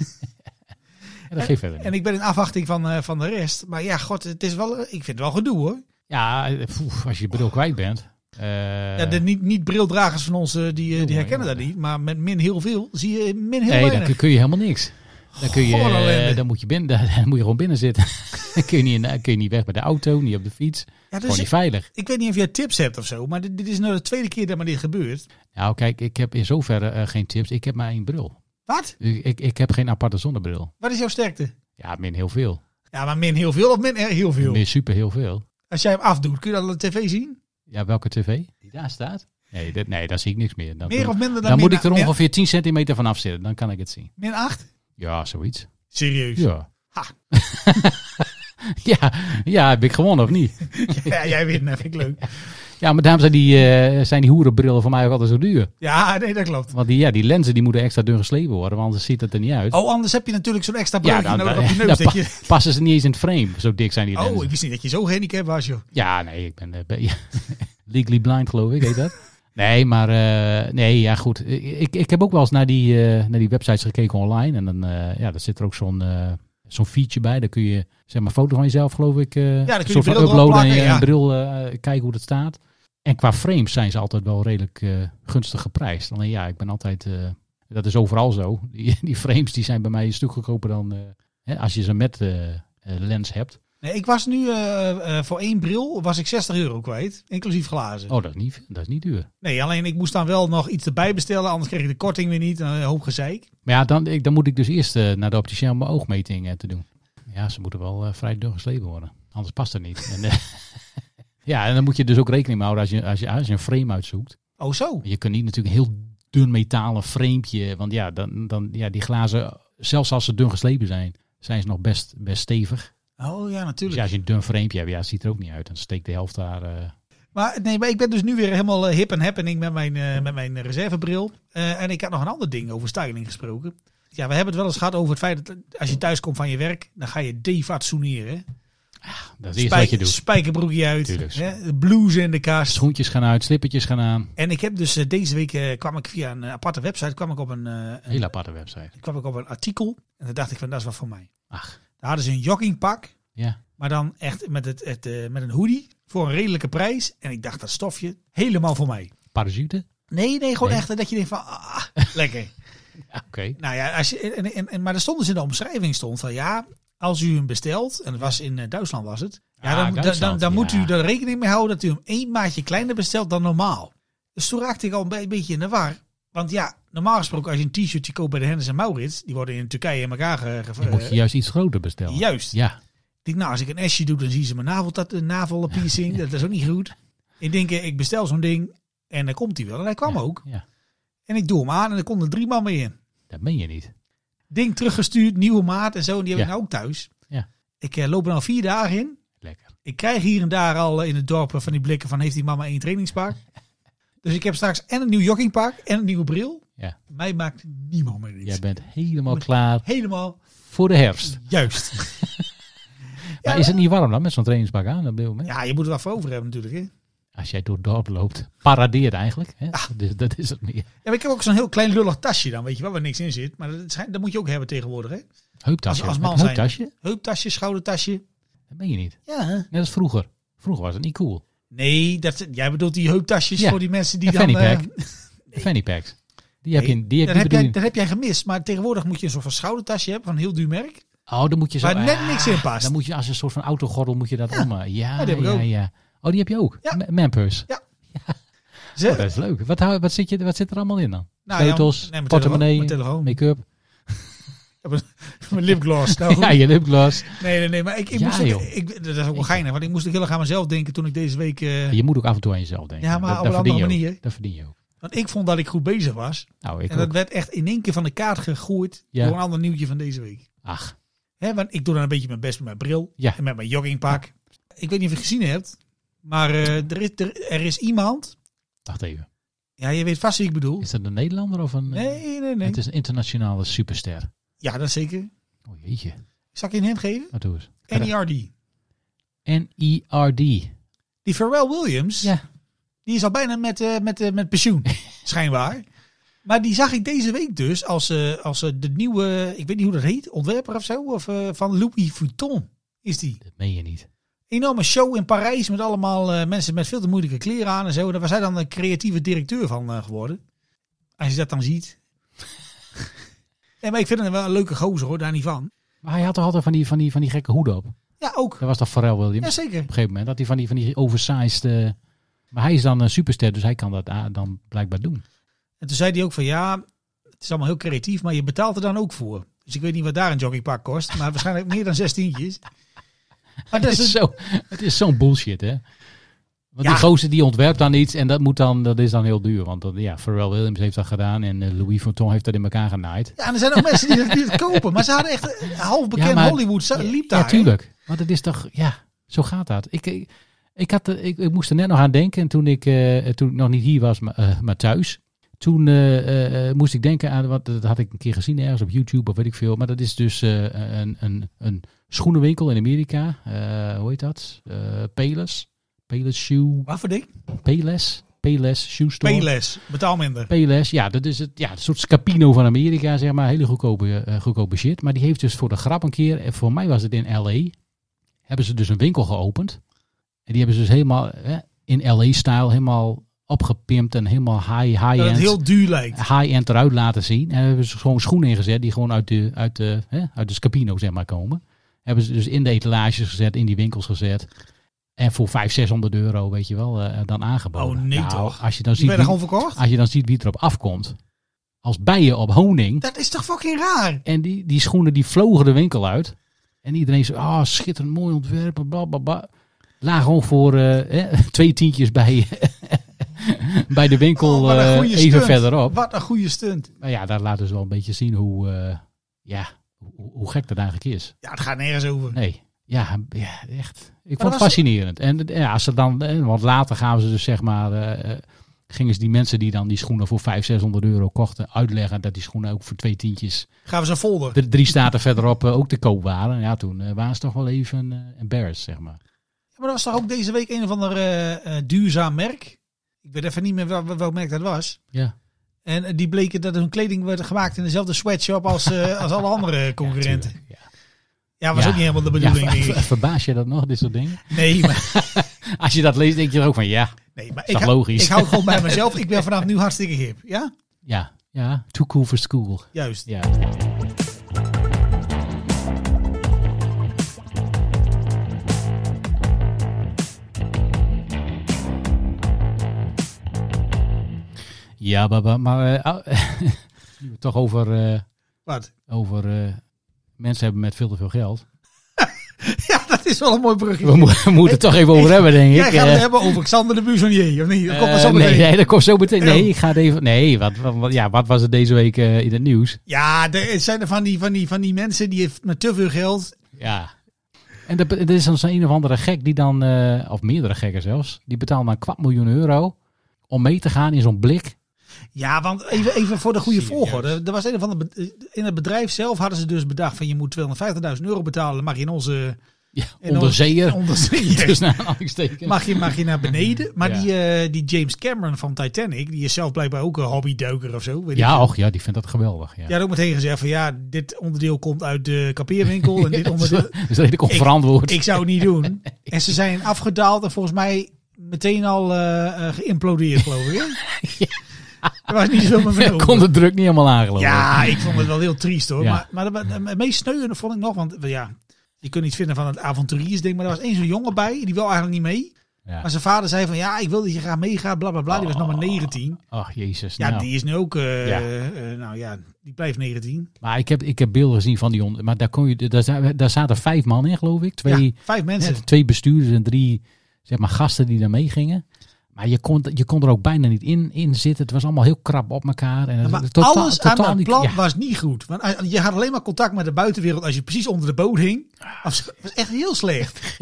A: Ja, dat geeft verder niet.
B: En ik ben in afwachting van, eh, van de rest. Maar ja, god, het is wel, ik vind het wel gedoe hoor.
A: Ja, eh, poef, als je je bril kwijt bent. eh,
B: ja, de niet, niet brildragers van ons eh, die, eh, die
A: Jongen,
B: herkennen dat
A: jongen.
B: niet. Maar met min heel veel zie je min heel
A: nee, dan
B: weinig.
A: kun- kun je helemaal niks. Dan, kun je,
B: Goh, wat een ellende.
A: eh, dan, moet, je binnen, dan moet je gewoon binnen zitten. dan kun je, niet, in- dan kun je niet weg bij de auto, niet op de fiets.
B: Ja, dus
A: gewoon
B: ik,
A: niet veilig.
B: ik weet niet of jij tips hebt of zo. Maar dit, dit is nou de tweede keer dat me dit gebeurt.
A: Nou, kijk, ik heb in zoverre eh, geen tips. Ik heb maar één bril.
B: Wat?
A: Ik, ik, ik heb geen aparte zonnebril.
B: Wat is jouw sterkte?
A: Ja, min heel veel.
B: Ja, maar min heel veel of min er- heel veel?
A: Min super heel veel.
B: Als jij hem afdoet, kun je dat op de tv zien?
A: Ja, welke tv? Die daar staat? Nee, dat, nee daar zie ik niks meer. Dan,
B: Meer of minder
A: dan
B: dan min
A: moet ik er
B: a-
A: ongeveer 10 centimeter vanaf zitten. Dan kan ik het zien.
B: Min 8?
A: Ja, zoiets.
B: Serieus?
A: Ja.
B: Ha.
A: ja, ja, heb ik gewonnen of niet?
B: Ja, jij wint, dat vind ik leuk.
A: Ja, maar daarom zijn die, eh, zijn die hoerenbrillen voor mij ook altijd zo duur.
B: Ja, nee, dat klopt.
A: Want die, ja, die lenzen die moeten extra dun geslepen worden, want anders ziet het er niet uit.
B: Oh, anders heb je natuurlijk zo'n extra
A: ja,
B: brilletje
A: dan, eh,
B: nodig op je
A: dan-
B: neus.
A: dan
B: dat
A: pa-
B: je...
A: passen ze niet eens in het frame. Zo dik zijn die lenzen.
B: Oh, ik wist niet dat je zo gehandicapt was, joh.
A: Ja, nee, ik ben eh, be- ja. legally blind, geloof ik, heet dat. Nee, maar eh, nee, ja goed. Ik, ik, ik heb ook wel eens naar die, eh, naar die websites gekeken online. En dan eh, ja, daar zit er ook zo'n eh, zo'n feature bij. Daar kun je zeg maar foto van jezelf, geloof ik, eh,
B: kun je
A: een
B: die
A: soort van
B: bril erop
A: uploaden en
B: plakken,
A: je
B: ja.
A: een bril eh, kijken hoe dat staat. En qua frames zijn ze altijd wel redelijk eh, gunstig geprijsd. Alleen ja, ik ben altijd, eh, dat is overal zo. Die, die frames die zijn bij mij een stuk goedkoper dan eh, hè, als je ze met eh, eh, lens hebt.
B: Nee, ik was nu eh, eh, voor één bril was ik 60 euro kwijt, inclusief glazen.
A: Oh, dat is niet, dat is niet duur.
B: Nee, alleen ik moest dan wel nog iets erbij bestellen, anders kreeg ik de korting weer niet. en Een hoop gezeik.
A: Maar ja, dan, ik, dan moet ik dus eerst eh, naar de opticien om mijn oogmeting eh, te doen. Ja, ze moeten wel eh, vrij dun geslepen worden. Anders past het niet. En, eh, ja, en dan moet je dus ook rekening mee houden als je, als je, als je een frame uitzoekt.
B: Oh zo.
A: Je kunt niet natuurlijk een heel dun metalen framepje. Want ja, dan, dan, ja, die glazen, zelfs als ze dun geslepen zijn, zijn ze nog best, best stevig.
B: Oh ja,
A: Dus ja,
B: natuurlijk.
A: als je een dun framepje hebt, ja, het ziet er ook niet uit. Dan steekt de helft daar. eh,
B: Maar, nee, maar ik ben dus nu weer helemaal eh, hip en happening met mijn, eh, met mijn reservebril. Eh, en ik had nog een ander ding over styling gesproken. Ja, we hebben het wel eens gehad over het feit dat als je thuis komt van je werk, dan ga je defatsoeneren.
A: dat is het eerste wat je doet.
B: Spijkerbroekje uit,
A: Tuurlijk.
B: hè, de blouse in de kast.
A: Schoentjes gaan uit, slippertjes gaan aan.
B: En ik heb dus eh, deze week eh, kwam ik via een eh, aparte website kwam ik op een, eh, een-
A: Hele aparte website.
B: kwam ik op een artikel. En dan dacht ik van dat is wat voor mij.
A: Ach,
B: Daar hadden ze een joggingpak,
A: ja.
B: maar dan echt met, het, het, eh, met een hoodie voor een redelijke prijs. En ik dacht dat stofje helemaal voor mij.
A: Parachute?
B: Nee, nee, gewoon
A: Nee.
B: echt eh, dat je denkt van ah, lekker.
A: Ja, Ah, Oké.
B: Nou ja, als je, en, en, en, maar er stond dus in de omschrijving stond van ja, als u hem bestelt, en het was in eh, Duitsland was het. Ja,
A: Ah,
B: dan, dan- dan,
A: Duitsland,
B: dan moet
A: ja.
B: u er rekening mee houden dat u hem één maatje kleiner bestelt dan normaal. Dus toen raakte ik al een be- beetje in de war. Want ja, normaal gesproken als je een t-shirtje koopt bij de Hennis en Maurits, die worden in Turkije in elkaar ge- ge-
A: Dan moet
B: eh,
A: je juist iets groter bestellen.
B: Juist.
A: Ja.
B: Ik denk, nou, als ik een S'je doe, dan zien ze mijn navel, dat, navelpiercing. Dat is ook niet goed. Ik denk, eh, ik bestel zo'n ding en dan komt hij wel. En hij kwam
A: Ja,
B: ook.
A: Ja,
B: En ik doe hem aan en er konden drie man mee in.
A: dat meen je niet.
B: Ding teruggestuurd, nieuwe maat en zo. En die heb
A: Ja.
B: ik nou ook thuis.
A: Ja.
B: Ik eh, loop er al vier dagen in.
A: Lekker.
B: Ik Ik krijg hier en daar al eh, in het dorp eh, van die blikken van heeft die mama één trainingspak. Dus ik heb straks en een nieuw joggingpak en een nieuwe bril.
A: Ja.
B: Mij maakt niemand meer iets.
A: Jij bent helemaal klaar
B: Helemaal
A: voor de herfst.
B: juist.
A: Maar is het niet warm dan met zo'n trainingspak aan op dit moment?
B: ja, je moet er wat voor over hebben natuurlijk. Hè?
A: Als jij door het dorp loopt, paradeer eigenlijk. Hè?
B: Ah.
A: Dus dat is het meer.
B: Ja, maar ik heb ook zo'n heel klein lullig tasje dan, weet je wel, waar niks in zit. Maar dat, schijnt- dat moet je ook hebben tegenwoordig, hè?
A: Heuptasje.
B: Als- als
A: Met
B: man
A: een
B: zijn.
A: heuptasje?
B: Heuptasje, schoudertasje.
A: Dat ben je niet.
B: Ja.
A: Net als vroeger. Vroeger was het niet cool.
B: Nee, dat, jij bedoelt die heuptasjes
A: Ja.
B: voor die mensen die
A: Een
B: dan...
A: fanny
B: eh,
A: pack. Fanny packs. Die heb je,
B: nee,
A: in- die heb
B: dat,
A: je
B: heb jij,
A: bediening-
B: dat heb jij gemist. Maar tegenwoordig moet je een soort van schoudertasje hebben van een heel duur merk.
A: Oh, dan moet je zo...
B: Waar net
A: ah,
B: niks in past.
A: Dan moet je als een soort van autogordel moet je dat om... eh, Ja,
B: die heb ik
A: ja,
B: ook.
A: ja. Oh, die heb je ook?
B: Ja.
A: Ma- Manpurse.
B: Zeg,
A: Oh, dat is leuk. Wat, hou- wat, zit je, wat zit er allemaal in dan?
B: Nou ja,
A: Sleutels,
B: nee, mijn
A: portemonnee,
B: telefoon- mijn
A: make-up.
B: mijn lipgloss. Nou,
A: Ja, je lipgloss.
B: Nee, nee, nee. Maar ik, ik
A: Ja,
B: moest ook-
A: joh.
B: ik, dat is ook wel geinig. Want ik moest ook heel erg aan mezelf denken toen ik deze week... eh,
A: Je moet ook af en toe aan jezelf denken.
B: Ja, maar
A: dat,
B: op
A: dat
B: een andere
A: verdien je ook.
B: manier.
A: Dat verdien je ook.
B: Want ik vond dat ik goed bezig was.
A: Nou, ik
B: en dat
A: ook.
B: werd echt in één keer van de kaart gegooid
A: Ja.
B: door een ander nieuwtje van deze week.
A: Ach,
B: Hè, want ik doe dan een beetje mijn best met mijn bril
A: Ja.
B: en met mijn joggingpak. Ik weet niet of je het gezien hebt, maar eh, er, is, er, er is iemand.
A: wacht even.
B: Ja, je weet vast wie ik bedoel.
A: Is dat een Nederlander of een...
B: Nee, nee, nee.
A: Het is een internationale superster.
B: Ja, dat zeker.
A: Oh jeetje,
B: Zal ik je een hint geven?
A: wat doe eens.
B: NERD.
A: N-I-R-D.
B: Die Pharrell Williams,
A: Ja.
B: die is al bijna met, eh, met, eh, met pensioen, schijnbaar. Maar die zag ik deze week dus als, eh, als eh, de nieuwe, ik weet niet hoe dat heet, ontwerper of zo, of, eh, van Louis Vuitton is die.
A: Dat meen je niet.
B: enorme show in Parijs met allemaal eh, mensen met veel te moeilijke kleren aan en zo. Daar was hij dan de creatieve directeur van eh, geworden. Als je dat dan ziet. nee, maar ik vind hem wel een leuke gozer hoor, daar niet van.
A: Maar hij had toch altijd van die, van die, van die gekke hoeden op?
B: Ja, ook.
A: Dat was toch Pharrell Williams? Op
B: Jazeker.
A: een gegeven moment had hij van die, van die oversized... eh, maar hij is dan een superster, dus hij kan dat ah, dan blijkbaar doen.
B: En toen zei hij ook van ja, het is allemaal heel creatief, maar je betaalt er dan ook voor. Dus ik weet niet wat daar een joggingpak kost, maar waarschijnlijk meer dan 16 Maar dat
A: Het is
B: is een-
A: zo- het is zo'n bullshit, hè? Want
B: Ja.
A: die gozer die ontwerpt dan iets en dat, moet dan, dat is dan heel duur. Want dat, ja, Pharrell Williams heeft dat gedaan en eh, Louis Vuitton heeft dat in elkaar genaaid.
B: ja, en er zijn ook mensen die dat die het kopen, maar ze hadden echt een half bekend
A: maar-
B: Hollywood ze- liep daar.
A: Ja,
B: hè?
A: tuurlijk. Want het is toch, ja, zo gaat dat. Ik, ik, ik, had, er- ik, ik moest er net nog aan denken en toen ik, eh, toen ik nog niet hier was, maar, eh, maar thuis. Toen eh, eh, eh, moest ik denken aan, wat, dat had ik een keer gezien ergens op YouTube of weet ik veel. Maar dat is dus eh, een, een, een schoenenwinkel in Amerika. Eh, hoe heet dat? Eh Payless. Payless Shoe.
B: Wat voor ding?
A: Payless. Payless Shoe Store.
B: Payless, betaal minder.
A: Payless, E ja, dat is het, ja, een soort Scapino van Amerika, zeg maar. Hele goedkope, eh, goedkope shit. Maar die heeft dus voor de grap een keer, en voor mij was het in L.A., hebben ze dus een winkel geopend. En die hebben ze dus helemaal eh, in L.A.-stijl helemaal opgepimpt en helemaal high- high-end
B: Dat het heel duur lijkt.
A: high-end eruit laten zien. En hebben ze gewoon schoenen ingezet die gewoon uit de, uit de, hè, uit de Scapino zeg maar komen. Hebben ze dus in de etalages gezet, in die winkels gezet. En voor 500, 600 euro, weet je wel, eh, dan aangeboden.
B: Oh, nee
A: Nou,
B: toch?
A: Als je dan
B: Die
A: ziet
B: werden
A: wie-
B: gewoon verkocht?
A: als je dan ziet wie erop afkomt. Als bijen op honing.
B: Dat is toch fucking raar?
A: En die, die schoenen die vlogen de winkel uit. En iedereen zei, ah, schitterend mooi ontwerp. Bla, bla, bla. Laag gewoon voor eh, hè, twee tientjes bij, bij de winkel
B: Oh, wat een
A: eh,
B: goede
A: even
B: stunt.
A: verderop.
B: Wat een goede stunt.
A: Maar Nou ja, daar laten ze wel een beetje zien hoe, eh, ja, hoe, hoe gek dat eigenlijk is.
B: Ja, het gaat nergens over.
A: Nee. Ja, ja echt. Ik
B: dat
A: vond
B: was-
A: het fascinerend. En eh, ja, als ze dan, eh, want later gaan ze dus zeg maar, eh, eh, gingen ze die mensen die dan die schoenen voor 500, 600 euro kochten uitleggen dat die schoenen ook voor twee tientjes
B: Gaan we zo'n folder.
A: de drie staten verderop eh, ook te koop waren. Ja, toen eh, waren ze toch wel even eh embarrassed, zeg maar.
B: Maar dat was toch ook deze week een of ander eh, eh, duurzaam merk? Ik weet even niet meer wel, wel- welk merk dat was.
A: Ja,
B: En eh, die bleken dat hun kleding werd gemaakt in dezelfde sweatshop als, eh, als alle andere concurrenten.
A: tuurlijk, ja.
B: Ja, was
A: Ja.
B: ook niet helemaal de
A: Ja,
B: bedoeling. denk ik.
A: verbaas je dat nog, dit soort dingen?
B: Nee, maar,
A: Als je dat leest, denk je er ook van ja,
B: nee, maar
A: Is
B: ik,
A: toch
B: hou-
A: logisch?
B: ik hou het gewoon bij mezelf. Ik ben vanaf nu hartstikke hip. Ja,
A: ja, ja, too cool for school.
B: juist.
A: Ja. Ja, baba, maar eh, au- nu we het toch over, eh,
B: Wat?
A: over eh, mensen hebben met veel te veel geld.
B: Ja, dat is wel een mooi brugje.
A: We, mo- we moeten het toch even over hebben, denk ik.
B: Jij gaat het
A: Eh,
B: hebben over Xander de Buzonier, of niet? Dat komt
A: eh,
B: er zo
A: nee,
B: meteen.
A: nee, dat komt zo meteen. Nee,
B: Ja.
A: ik ga het even. Nee, wat, wat, wat- ja, wat was het deze week eh, in het nieuws?
B: Ja, er zijn er van die, van die, van die mensen die heeft met te veel geld.
A: Ja. En dat, dat is dan zo'n een of andere gek die dan, eh, of meerdere gekken zelfs, die betaalt dan een kwart miljoen euro om mee te gaan in zo'n blik.
B: Ja, want even, even voor de goede
A: Serieus?
B: volgorde. Er was een of ander, be- in het bedrijf zelf hadden ze dus bedacht van je moet 250.000 euro betalen. Dan mag je in onze...
A: Ja,
B: in
A: onderzeeër.
B: onze- onderzeeër.
A: Dus naar aanhalingstekens.
B: mag, je, mag je naar beneden. Maar
A: Ja.
B: die, eh, die James Cameron van Titanic, die is zelf blijkbaar ook een hobbyduiker of zo. Weet ik.
A: Ja, oh. och ja, die vindt dat geweldig. Ja.
B: Die had ook meteen gezegd van ja, dit onderdeel komt uit de kapeerwinkel. En
A: dat
B: dit
A: is-
B: onderdeel...
A: dat is redelijk onverantwoord.
B: Ik zou het niet doen. En ze zijn afgedaald en volgens mij meteen al eh, eh, geïmplodeerd, geloof ik. hè? Er was niet zoveel meer
A: Ik
B: van over.
A: kon de druk niet helemaal aangelopen.
B: Ja, ik vond het wel heel triest hoor.
A: Ja.
B: Maar, maar dat- het meest sneuwende vond ik nog, want ja, je kunt iets vinden van het avonturiersding, maar er was één zo'n jongen bij, die wil eigenlijk niet mee.
A: Ja.
B: Maar zijn vader zei van ja, ik wil dat je gaat meegaan, bla bla bla. Die was nog maar 19.
A: Ach, jezus.
B: Ja,
A: nou.
B: die is nu ook, eh,
A: Oh. Ja.
B: eh, nou ja, die blijft 19.
A: Maar ik heb, ik heb beelden gezien van die onder... Maar daar, kon je, daar, za- daar zaten vijf man in, geloof ik. Twee,
B: ja, vijf mensen.
A: hè, twee bestuurders en drie zeg maar, gasten die daar meegingen. Maar je kon, je kon er ook bijna niet in, in zitten. Het was allemaal heel krap op elkaar. En het-
B: maar
A: totaal-
B: alles
A: totaal
B: aan dat
A: niet-
B: plan
A: ja.
B: was niet goed. Want als- je had alleen maar contact met de buitenwereld als je precies onder de boot hing. Dat was echt heel slecht.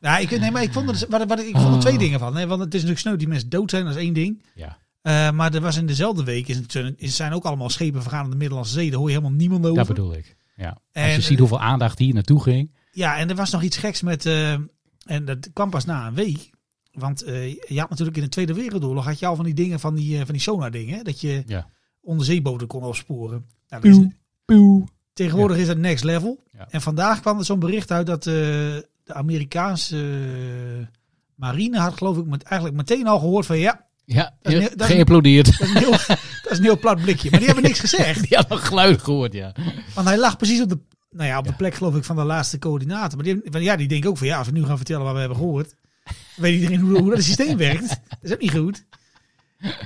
B: Ja, ik, nee, maar ik vond er, wat, wat, ik vond er
A: Oh.
B: twee dingen van. Hè? Want het is natuurlijk sneu die mensen dood zijn, dat is één ding.
A: Ja.
B: Eh, maar er was in dezelfde week, is, het- is- zijn ook allemaal schepen vergaan in de Middellandse Zee. Daar hoor je helemaal niemand over.
A: Dat bedoel ik. Ja. Als je
B: En-
A: ziet hoeveel aandacht hier naartoe ging.
B: Ja, en er was nog iets geks met. eh, en dat kwam pas na een week. Want eh, je had natuurlijk in de Tweede Wereldoorlog had je al van die dingen van die, eh, van die sonar-dingen. hè, Dat je
A: Ja.
B: onderzeeboten kon opsporen. Nou, dat is- Tegenwoordig is dat next level.
A: Ja.
B: En vandaag kwam er zo'n bericht uit dat eh, de Amerikaanse eh, marine had geloof ik met, eigenlijk meteen al gehoord van ja,
A: Ja, eh,
B: Dat is
A: je-
B: niet- dat is-
A: geapplaudeerd.
B: dat is een heel, dat is een heel plat blikje. Maar die hebben niks gezegd.
A: Die had nog geluid gehoord, ja.
B: Want hij lag precies op de, nou ja, op de
A: Ja.
B: plek, geloof ik, van de laatste coördinaten. Maar die, want ja, die denken ook van ja, als we nu gaan vertellen wat we hebben gehoord. weet iedereen hoe, hoe dat systeem werkt. Dat is ook niet goed.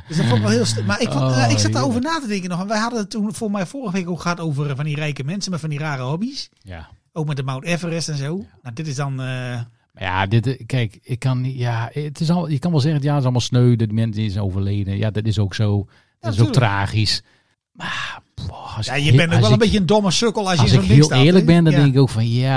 B: Dus dat vond ik wel heel stuk. Maar ik, vond,
A: Oh,
B: eh, ik zat daarover
A: heerlijk.
B: na te denken nog. En wij hadden het toen voor mij vorige week ook gehad over eh, van die rijke mensen met van die rare hobby's.
A: Ja.
B: Ook met de Mount Everest en zo. Nou, dit is dan. eh,
A: Maar Ja, dit, eh, kijk, ik kan niet. Ja, het is al, je kan wel zeggen, ja, het is allemaal sneu. Dat die mensen is overleden. Ja, dat is ook zo. Dat is ook
B: natuurlijk.
A: tragisch. Maar boah, als
B: ja,
A: ik
B: je
A: he-
B: bent ook
A: als
B: wel een
A: ik-
B: beetje een domme sukkel als je
A: Als ik
B: in zo'n ding
A: heel
B: staat. hè?
A: eerlijk ben, dan
B: Ja.
A: denk ik ook van ja,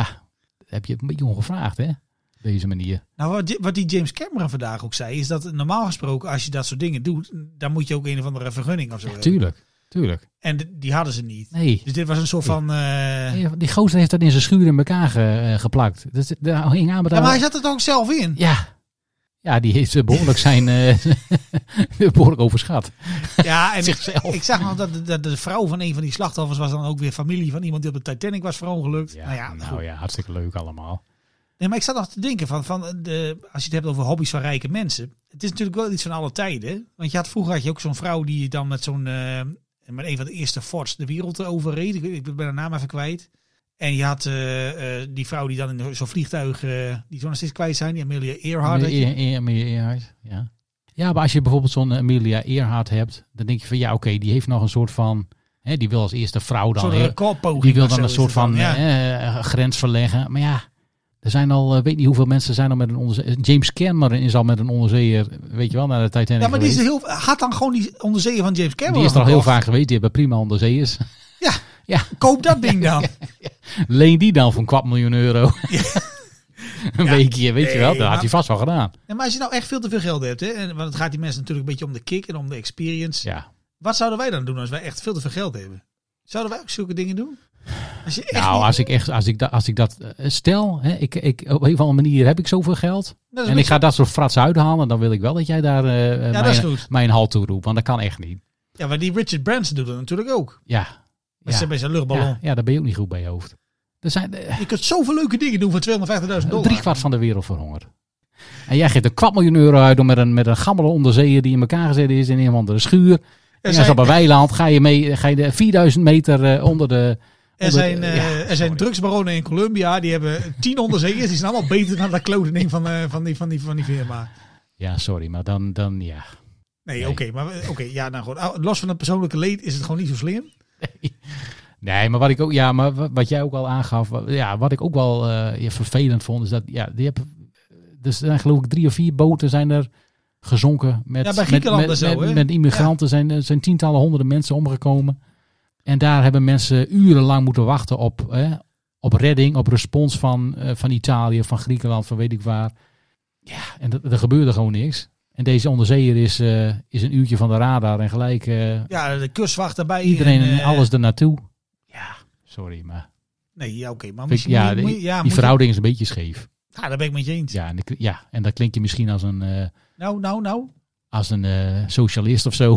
A: dat heb je het een beetje ongevraagd, hè? Op Deze manier.
B: Nou, wat die, wat die James Cameron vandaag ook zei, is dat normaal gesproken, als je dat soort dingen doet, dan moet je ook een of andere vergunning of zo hebben.
A: Tuurlijk, tuurlijk.
B: En d- die hadden ze niet.
A: Nee.
B: Dus dit was een soort van. eh,
A: Nee, Die gozer heeft dat in zijn schuur in elkaar ge- eh, geplakt. Dat, daar hing aan met
B: Ja, maar hij
A: daar.
B: zat er ook zelf in.
A: Ja. Ja, die heeft eh, behoorlijk zijn. eh, behoorlijk overschat.
B: Ja, en ik,
A: Zichzelf.
B: ik zag nog dat de, dat de vrouw van een van die slachtoffers was dan ook weer familie van iemand die op de Titanic was verongelukt.
A: Ja,
B: nou ja, goed.
A: nou ja, hartstikke leuk allemaal.
B: Nee, maar ik zat nog te denken van, van de, als je het hebt over hobby's van rijke mensen. Het is natuurlijk wel iets van alle tijden. Want je had, vroeger had je ook zo'n vrouw die dan met zo'n eh, met een van de eerste forts de wereld overreed. Ik, weet- ik ben de naam even kwijt. En je had eh, eh, die vrouw die dan in zo'n vliegtuig, eh, die zo nog steeds kwijt zijn, die Amelia Earhart. had je.
A: Amelia, Ear- Amelia Earhart, ja. Ja, maar als je bijvoorbeeld zo'n Amelia Earhart hebt, dan denk je van ja, oké, die heeft nog een soort van, hè, die wil als eerste vrouw
B: Een
A: dan,
B: soort
A: hè,
B: recordpoging.
A: die wil
B: of
A: dan
B: zo
A: een
B: is
A: soort
B: het dan,
A: van
B: ja.
A: eh, grens verleggen. Maar ja, er zijn al, eh, weet niet hoeveel mensen zijn al met een onderzeeër. James Cameron is al met een onderzeeër, weet je wel, naar de Titanic
B: Ja, maar die is
A: geweest.
B: heel, had dan gewoon die onderzeeën van James Cameron.
A: Die is er al heel
B: gekocht.
A: vaak geweest, die hebben prima onderzeeërs.
B: Koop dat ding dan.
A: Leen die dan voor een kwart miljoen euro. een weekje, weet je wel, dat had
B: maar-
A: hij vast wel gedaan.
B: En maar als je nou echt veel te veel geld hebt, hè, en, want het gaat die mensen natuurlijk een beetje om de kick en om de experience.
A: Ja.
B: Wat zouden wij dan doen als wij echt veel te veel geld hebben? Zouden wij ook zulke dingen doen? Als je echt
A: Nou,
B: niet-
A: als ik echt, als ik, da- als ik dat eh, stel, hè, ik, ik, op een of andere manier heb ik zoveel geld.
B: dat is
A: En ik ga dat soort frats uithalen, dan wil ik wel dat jij daar eh, eh,
B: ja, dat is
A: mijn,
B: goed.
A: mijn hal toe roept. Want dat kan echt niet.
B: Ja, maar die Richard Branson doet dat natuurlijk ook.
A: Ja.
B: Met
A: Ja.
B: zijn- met zijn luchtballon.
A: Ja, ja, daar ben je ook niet goed bij je hoofd. Er zijn eh,
B: Je kunt zoveel leuke dingen doen voor 250.000 dollar.
A: drie kwart van de wereld verhongerd. En jij geeft een kwart miljoen euro uit om met een, met een gammele onderzeeër die in elkaar gezet is in een of andere schuur. En
B: zijn-
A: op een weiland ga je, mee, ga je de 4000 meter eh, onder de...
B: Er
A: onder-
B: zijn, eh,
A: ja,
B: er zijn
A: sorry.
B: drugsbaronnen in Colombia, die hebben tien onderzeeërs. Die zijn allemaal beter dan dat klote ding van, eh, van, die, van, die, van die firma.
A: Ja, sorry, maar dan, dan ja.
B: Nee,
A: Nee.
B: oké, maar eh, oké, ja, nou goed. Ah, Los van het persoonlijke leed is het gewoon niet zo slim.
A: Nee, maar wat ik ook, ja, maar wa- wat jij ook al aangaf, wa- ja, wat ik ook wel eh, ja, vervelend vond, is dat, ja, die hebben, er zijn geloof ik drie of vier boten zijn er gezonken met,
B: Ja, bij
A: met-
B: Griekenland
A: met,
B: en zo,
A: met,
B: hè?
A: met immigranten zijn, er zijn tientallen honderden mensen omgekomen. En daar hebben mensen urenlang moeten wachten op, hè, op redding, op respons van, eh, van Italië, van Griekenland, van weet ik waar. Ja, en dat- er gebeurde gewoon niks. En deze onderzeeër is, eh, is een uurtje van de radar en gelijk eh,
B: Ja, de kustwacht daarbij.
A: iedereen
B: en,
A: en
B: eh,
A: alles ernaartoe. Ja, sorry, maar
B: Nee, ja, oké. maar
A: vind ik-
B: misschien
A: ja,
B: moet je-
A: die,
B: moet je- ja,
A: die
B: moet je-
A: verhouding is een beetje scheef.
B: Ja, daar ben ik met je eens.
A: Ja, en, ik- ja, en dat klinkt je misschien als een, eh,
B: Nou, nou, nou.
A: als een eh, socialist of zo.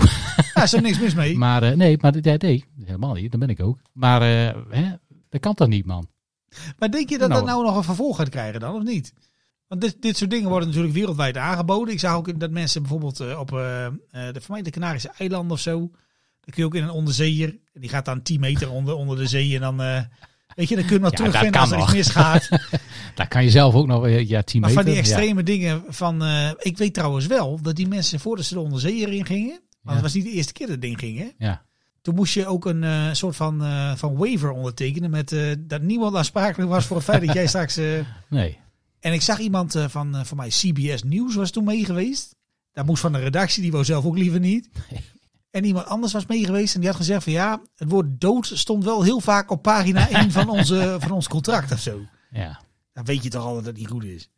B: Daar is er niks mis mee.
A: Maar eh, nee, maar nee, nee, helemaal niet. Dat ben ik ook. Maar eh, hè, dat kan toch niet, man?
B: Maar denk je dat
A: Nou.
B: dat nou nog een vervolg gaat krijgen dan, of niet? Want dit, dit soort dingen worden natuurlijk wereldwijd aangeboden. Ik zag ook dat mensen bijvoorbeeld eh, op eh, eh, de vermeende Canarische eilanden of zo... Dan kun je ook in een onderzeeër. En die gaat dan 10 meter onder, onder de zee. En dan, eh, weet je, dan kun je nog
A: Ja,
B: terugvinden
A: dat
B: als
A: kan
B: er iets
A: nog.
B: misgaat.
A: Daar kan je zelf ook nog, eh, ja, 10
B: Maar
A: meter.
B: van die
A: ja.
B: extreme dingen van... eh, ik weet trouwens wel dat die mensen voordat ze de onderzeeër in gingen...
A: Ja.
B: Want het was niet de eerste keer dat het ding ging, hè?
A: Ja.
B: Toen moest je ook een eh, soort van, eh, van waiver ondertekenen... Met, eh, dat niemand aansprakelijk was voor het feit dat jij straks... eh,
A: Nee.
B: En ik zag iemand eh, van, eh, van mij, CBS Nieuws was toen mee geweest. Daar moest van de redactie, die wou zelf ook liever niet. En iemand anders was mee geweest en die had gezegd van ja, het woord dood stond wel heel vaak op pagina 1 van, onze, van ons contract of zo.
A: Ja.
B: Dan weet je toch al dat het niet goed is.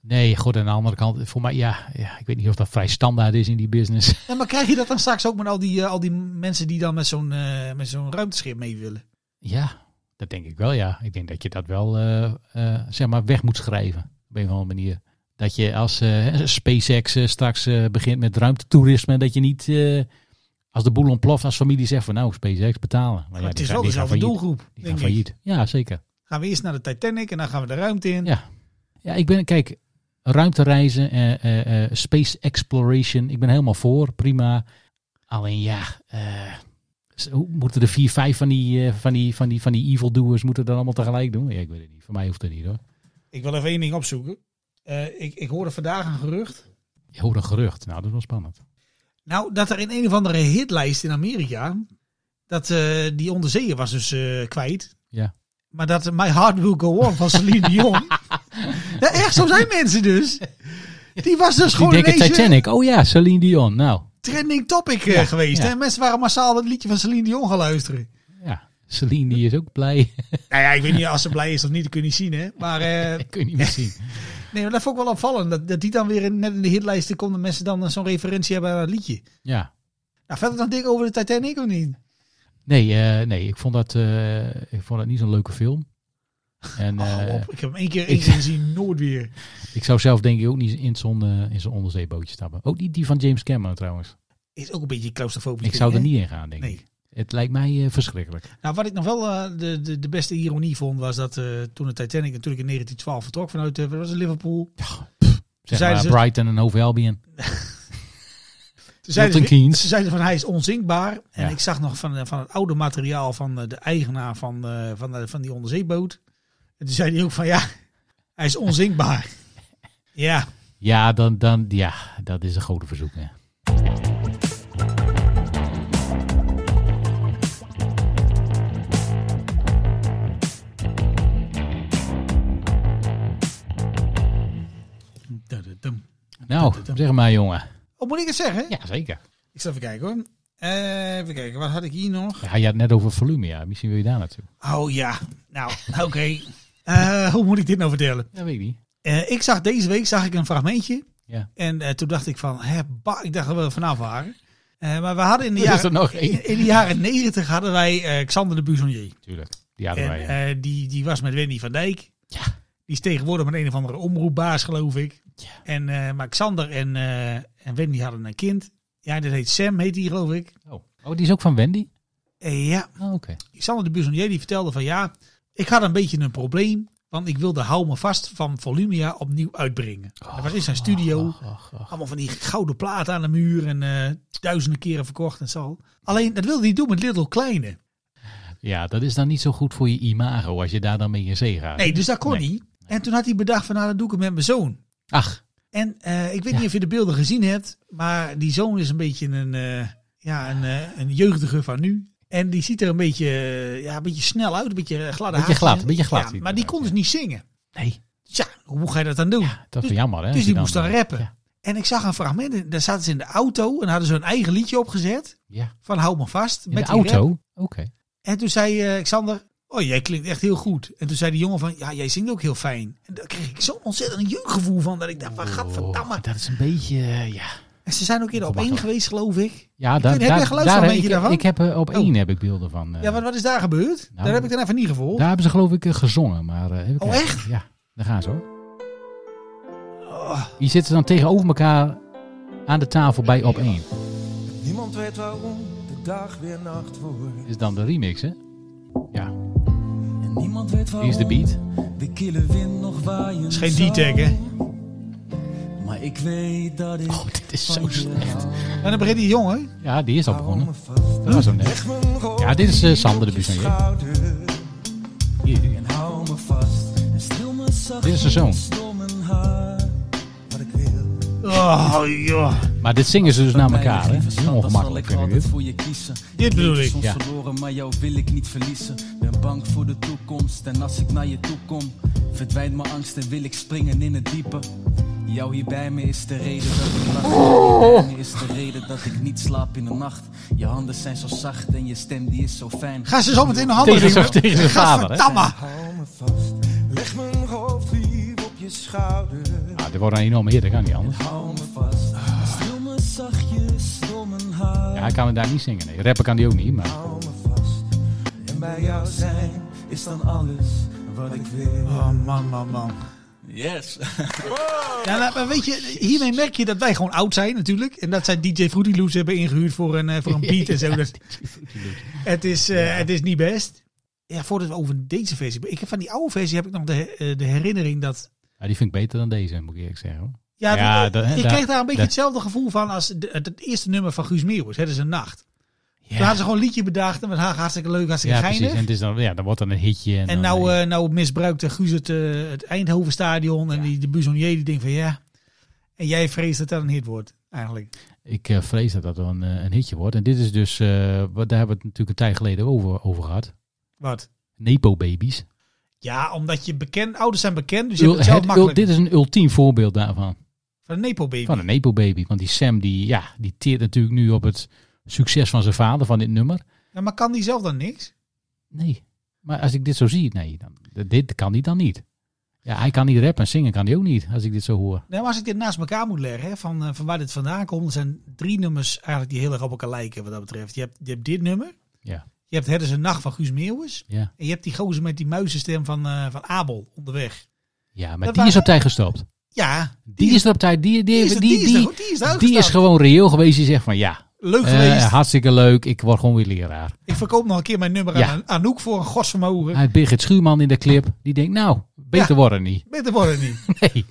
A: Nee, goed, aan de andere kant, voor mij, ja, ja, ik weet niet of dat vrij standaard is in die business.
B: En maar krijg je dat dan straks ook met al die, eh, al die mensen die dan met zo'n eh, met zo'n ruimteschip mee willen?
A: ja, dat denk ik wel, ja. Ik denk dat je dat wel, eh, eh, zeg maar, weg moet schrijven. Op een of andere manier. Dat je als eh, SpaceX eh, straks eh, begint met ruimtetoerisme, dat je niet, eh, als de boel ontploft, als familie zegt van nou, SpaceX betalen. Maar, ja,
B: het
A: die
B: is
A: gaan-
B: wel
A: die gaan
B: dezelfde
A: failliet.
B: doelgroep.
A: Die
B: denk
A: gaan
B: ik.
A: failliet. Ja, zeker.
B: Gaan we eerst naar de Titanic en dan gaan we de ruimte in.
A: Ja. Ja, ik ben, kijk, ruimtereizen, eh, eh, eh, space exploration, ik ben helemaal voor, prima. Alleen ja, eh, s- hoe moeten de vier, vijf van die, eh, van die, van die, van die evildoers moeten dat allemaal tegelijk doen? Ja, ik weet het niet, voor mij hoeft het niet hoor.
B: Ik wil even één ding opzoeken. Eh, ik, ik hoorde vandaag een gerucht
A: Je hoort een gerucht, nou dat is wel spannend.
B: Nou, dat er in een of andere hitlijst in Amerika. dat eh, die onderzeeër was dus eh, kwijt.
A: Ja.
B: Maar dat eh, My Heart Will Go On van Celine Dion. ja, echt, zo zijn mensen dus. Die was dus
A: Die
B: gewoon
A: denken
B: ineens eh,
A: Titanic, oh ja, Celine Dion, nou
B: trending topic eh,
A: Ja,
B: geweest.
A: ja.
B: Hè? Mensen waren massaal het liedje van Celine Dion gaan luisteren.
A: ja. Celine die is ook blij.
B: Nou ja, ik weet niet als ze blij is of niet, dat kun je niet zien. Hè? Maar, eh,
A: Dat kun je niet meer zien.
B: nee, maar dat vond ik wel opvallend. Dat, dat die dan weer in- net in de hitlijsten komt en mensen dan eh, zo'n referentie hebben aan dat liedje.
A: Ja.
B: Nou, verder dan dik over de Titanic of niet?
A: Nee, eh, nee ik, vond dat, eh, ik vond dat niet zo'n leuke film. En,
B: Ach,
A: eh,
B: hou Oh, op. Ik heb hem één keer,
A: ik-
B: één keer gezien, nooit weer.
A: Ik zou zelf denk ik ook niet in zo'n eh, in zo'n onderzeebootje stappen. Ook niet die van James Cameron trouwens.
B: is ook een beetje claustrofobisch.
A: Ik zou er
B: vind ik,
A: niet in gaan, denk
B: Nee.
A: ik. Het lijkt mij eh, verschrikkelijk.
B: hè? Nou, wat ik nog wel eh, de, de, de beste ironie vond, was dat eh, toen de Titanic natuurlijk in 1912 vertrok vanuit eh, wat was het, Liverpool.
A: Zeg
B: Zeiden
A: maar
B: ze-
A: Brighton en Hove Albion.
B: Toen zeiden,
A: Milton
B: ze,
A: Keynes.
B: ze zeiden van hij is onzinkbaar. En
A: Ja.
B: ik zag nog van, eh, van het oude materiaal van eh, de eigenaar van, eh, van, eh, van die onderzeeboot. En toen zei hij ook van ja, hij is onzinkbaar. ja,
A: Ja, dan, dan, ja, dat is een grote verzoek. Hè.
B: Dadadam.
A: Nou, zeg maar jongen.
B: Oh, moet ik het zeggen?
A: Ja, zeker.
B: Ik zal even kijken hoor. Eh, even kijken, wat had ik hier nog?
A: Ja, je had het net over volume. Ja. Misschien wil je daar naartoe.
B: Oh ja, nou oké. Eh, hoe moet ik dit nou vertellen?
A: Dat weet ik niet.
B: Eh, ik zag deze week zag ik een fragmentje.
A: Ja.
B: En eh, toen dacht ik van, hè, ba- ik dacht dat we er vanaf waren. Eh, maar we hadden in de
A: Er is er
B: jaren,
A: nog
B: in,
A: één.
B: in de jaren 90 hadden wij eh, Xander de Buzonier.
A: Tuurlijk. Die hadden
B: En
A: wij. ja.
B: eh, die, die was met Wendy van Dijk.
A: Ja.
B: Die is tegenwoordig met een of andere omroepbaas, geloof ik. En, eh, maar Xander en, eh, en Wendy hadden een kind. Ja, dat heet Sam, heet die geloof ik.
A: Oh. oh, die is ook van Wendy?
B: Eh, ja,
A: Oh, oké.
B: Xander de Buzonier die vertelde van ja, ik had een beetje een probleem. Want ik wilde Hou Me Vast van Volumia opnieuw uitbrengen. dat was in
A: Oh.
B: zijn studio.
A: Och, och, och.
B: Allemaal van die gouden platen aan de muur en eh, duizenden keren verkocht en zo. Alleen, dat wilde hij doen met Little Kleine.
A: Ja, dat is dan niet zo goed voor je imago als je daar dan mee in zee gaat.
B: Nee, dus dat kon
A: Ah, Nee.
B: niet. En toen had hij bedacht van, nou, dat doe ik met mijn zoon.
A: Ach,
B: En eh, ik weet niet of je de beelden gezien hebt, maar die zoon is een beetje een, eh, ja, een, eh, een jeugdige van nu. En die ziet er een beetje, eh, ja, een beetje snel uit, een beetje eh, gladde
A: Beetje
B: haartjes.
A: glad, beetje glad ziet
B: Ja,
A: hij
B: maar die
A: eruit,
B: kon dus niet zingen.
A: nee.
B: Tja, hoe ga je dat dan doen?
A: Dat is
B: Dus-
A: jammer, hè? als
B: Dus
A: je
B: die moest dan
A: eh,
B: rappen.
A: Ja.
B: En ik zag een fragment, en daar zaten ze in de auto en hadden ze hun eigen liedje opgezet.
A: ja.
B: Van hou me vast.
A: In
B: met
A: de
B: die rap.
A: auto? Oké.
B: En toen zei eh Xander, oh jij klinkt echt heel goed. En toen zei die jongen van, ja jij zingt ook heel fijn. En daar kreeg ik zo'n ontzettend jeugdgevoel van dat ik dacht, van gadverdamme.
A: Oh, dat is een beetje, eh, ja.
B: En ze zijn ook eerder op één
A: Ongemakkelijk.
B: geweest geloof ik.
A: Ja,
B: heb jij geluisterd al een
A: ik,
B: beetje daarvan?
A: ik heb eh, op
B: Oh.
A: één heb ik beelden van. eh,
B: Ja, wat, wat is daar gebeurd?
A: Nou,
B: daar heb ik dan even niet gevolgd.
A: Daar hebben ze geloof ik eh, gezongen. Maar, eh, even
B: Oh,
A: kijken.
B: echt?
A: Ja, daar gaan ze hoor.
B: Oh.
A: Die zitten dan tegenover elkaar aan de tafel bij op één.
F: Niemand weet waarom de dag weer nacht wordt.
A: Is dan de remix, hè? Ja,
F: En niemand weet
A: hier
F: waarom
A: is de beat.
F: de kille wind nog waaien
B: is geen D-tag, hè?
F: zal. Maar ik weet dat ik
A: Oh, dit is
F: van
A: zo
F: je
A: slecht.
F: hou.
B: En dan begint die jongen.
A: Ja, die is al
F: Hou me
B: Oh,
A: begonnen.
F: vast.
A: Dat was hem net.
F: Leg mijn rol
A: Ja, dit is, eh, Sander de
F: op je
A: Buissonier.
F: schouder.
A: Hier, hier.
F: En hou me vast. En streel me zacht
A: Dit is zijn zoon.
F: met door mijn haar. Wat ik wil.
B: Oh, joh.
A: Maar dit zingen ze dus naar
F: Bij
A: elkaar,
F: mij,
A: hè?
F: lieve
A: Heel
F: schat, dan zal
A: ongemakkelijk
F: ik
A: vind ik
F: altijd
A: dit.
F: voor je kiezen.
B: Dit bedoel
F: heb
B: ik.
F: soms
A: Ja.
F: verloren, maar jou wil ik niet verliezen. Ben bang voor de toekomst en als ik naar je toe kom, verdwijnt mijn angst en wil ik springen in het diepe. Jou hier bij me is de reden dat ik lach. Jou hier bij me is de reden dat ik niet slaap in de nacht. Je handen zijn zo zacht en je stem die is zo fijn.
B: Ga ze zo meteen de handen
A: Tegen, zijn-
B: zingen.
A: tegen zijn vader, hè?
B: Gadverdamme.
F: Hou me vast, leg mijn hoofd hier op je schouder.
A: Nou, dit wordt een enorme hit, dat kan niet anders.
F: Hou me vast, stil me zachtjes door mijn haar.
A: Ja, hij kan het daar niet zingen. Nee, rappen kan die ook niet, maar...
F: Hou me vast. En bij jou zijn is dan alles wat ik wil.
B: Oh, man, man, man.
F: Yes.
B: Ja, nou, maar weet je, hiermee merk je dat wij gewoon oud zijn natuurlijk. En dat zij DJ Fruity Loops hebben ingehuurd voor een, eh, voor een beat en zo. Dat, het, is, eh, het is niet best. Ja, voordat we over deze versie... Ik heb van die oude versie heb ik nog de, eh, de herinnering dat...
A: Ja, die vind ik beter dan deze, moet ik eerlijk zeggen. Hoor.
B: Ja,
A: Ja,
B: dat-
A: dat-
B: ik
A: dat-
B: kreeg daar een beetje
A: dat-
B: hetzelfde gevoel van als de- het, het eerste nummer van Guus Meeuwis. Het is een nacht.
A: Ja,
B: Toen hadden ze gewoon een liedje bedacht en we hadden hartstikke leuk, hartstikke
A: ja
B: geinig.
A: precies. En het is dan, ja, dan wordt dan een hitje. En,
B: En
A: dan,
B: nou,
A: eh,
B: eh nou misbruikte Guus het, eh, het Eindhovenstadion. En die, de Buzonier die denkt van ja. En jij vreest dat dat een hit wordt, eigenlijk.
A: Ik eh, vrees dat dat wel een, eh, een hitje wordt. En dit is dus, eh, wat, daar hebben we het natuurlijk een tijd geleden over, over gehad.
B: Wat?
A: Nepo-babies.
B: Ja, omdat je bekend, ouders zijn bekend, dus je
A: Ul-
B: hebt het zelf
A: het ul-
B: makkelijk.
A: dit is een ultiem voorbeeld daarvan.
B: Van een Nepo-baby.
A: Van een Nepo-baby. Want die Sam, die, ja, die teert natuurlijk nu op het succes van zijn vader, van dit nummer.
B: Ja, maar kan die zelf dan niks?
A: Nee. Maar als ik dit zo zie, nee. Dan, dit kan hij dan niet. Ja, hij kan niet rappen en zingen kan hij ook niet, als ik dit zo hoor.
B: Nou, maar als ik dit naast elkaar moet leggen, hè, van, eh, van waar dit vandaan komt, er zijn drie nummers eigenlijk die heel erg op elkaar lijken wat dat betreft. Je hebt, je hebt dit nummer,
A: Ja.
B: je hebt Het is een nacht van Guus Meeuwis.
A: Ja,
B: En je hebt die gozer met die muizenstem van, eh, van Abel onderweg.
A: ja maar
B: Dat
A: die is
B: waren-
A: op tijd gestopt.
B: Ja,
A: Die is er op tijd. Die,
B: die
A: die,
B: is,
A: die,
B: die
A: die,
B: is, er- die is eruit
A: die is
B: gestapt.
A: gewoon reëel geweest. Die zegt van ja,
B: Leuk
A: eh,
B: geweest.
A: hartstikke leuk. Ik word gewoon weer leraar.
B: Ik verkoop nog een keer mijn nummer
A: Ja.
B: aan Anouk voor een godsvermogen.
A: Hij heeft Birgit Schuurman in de clip. Die denkt nou, beter
B: Ja.
A: worden niet.
B: Beter wordt het niet.
A: Nee.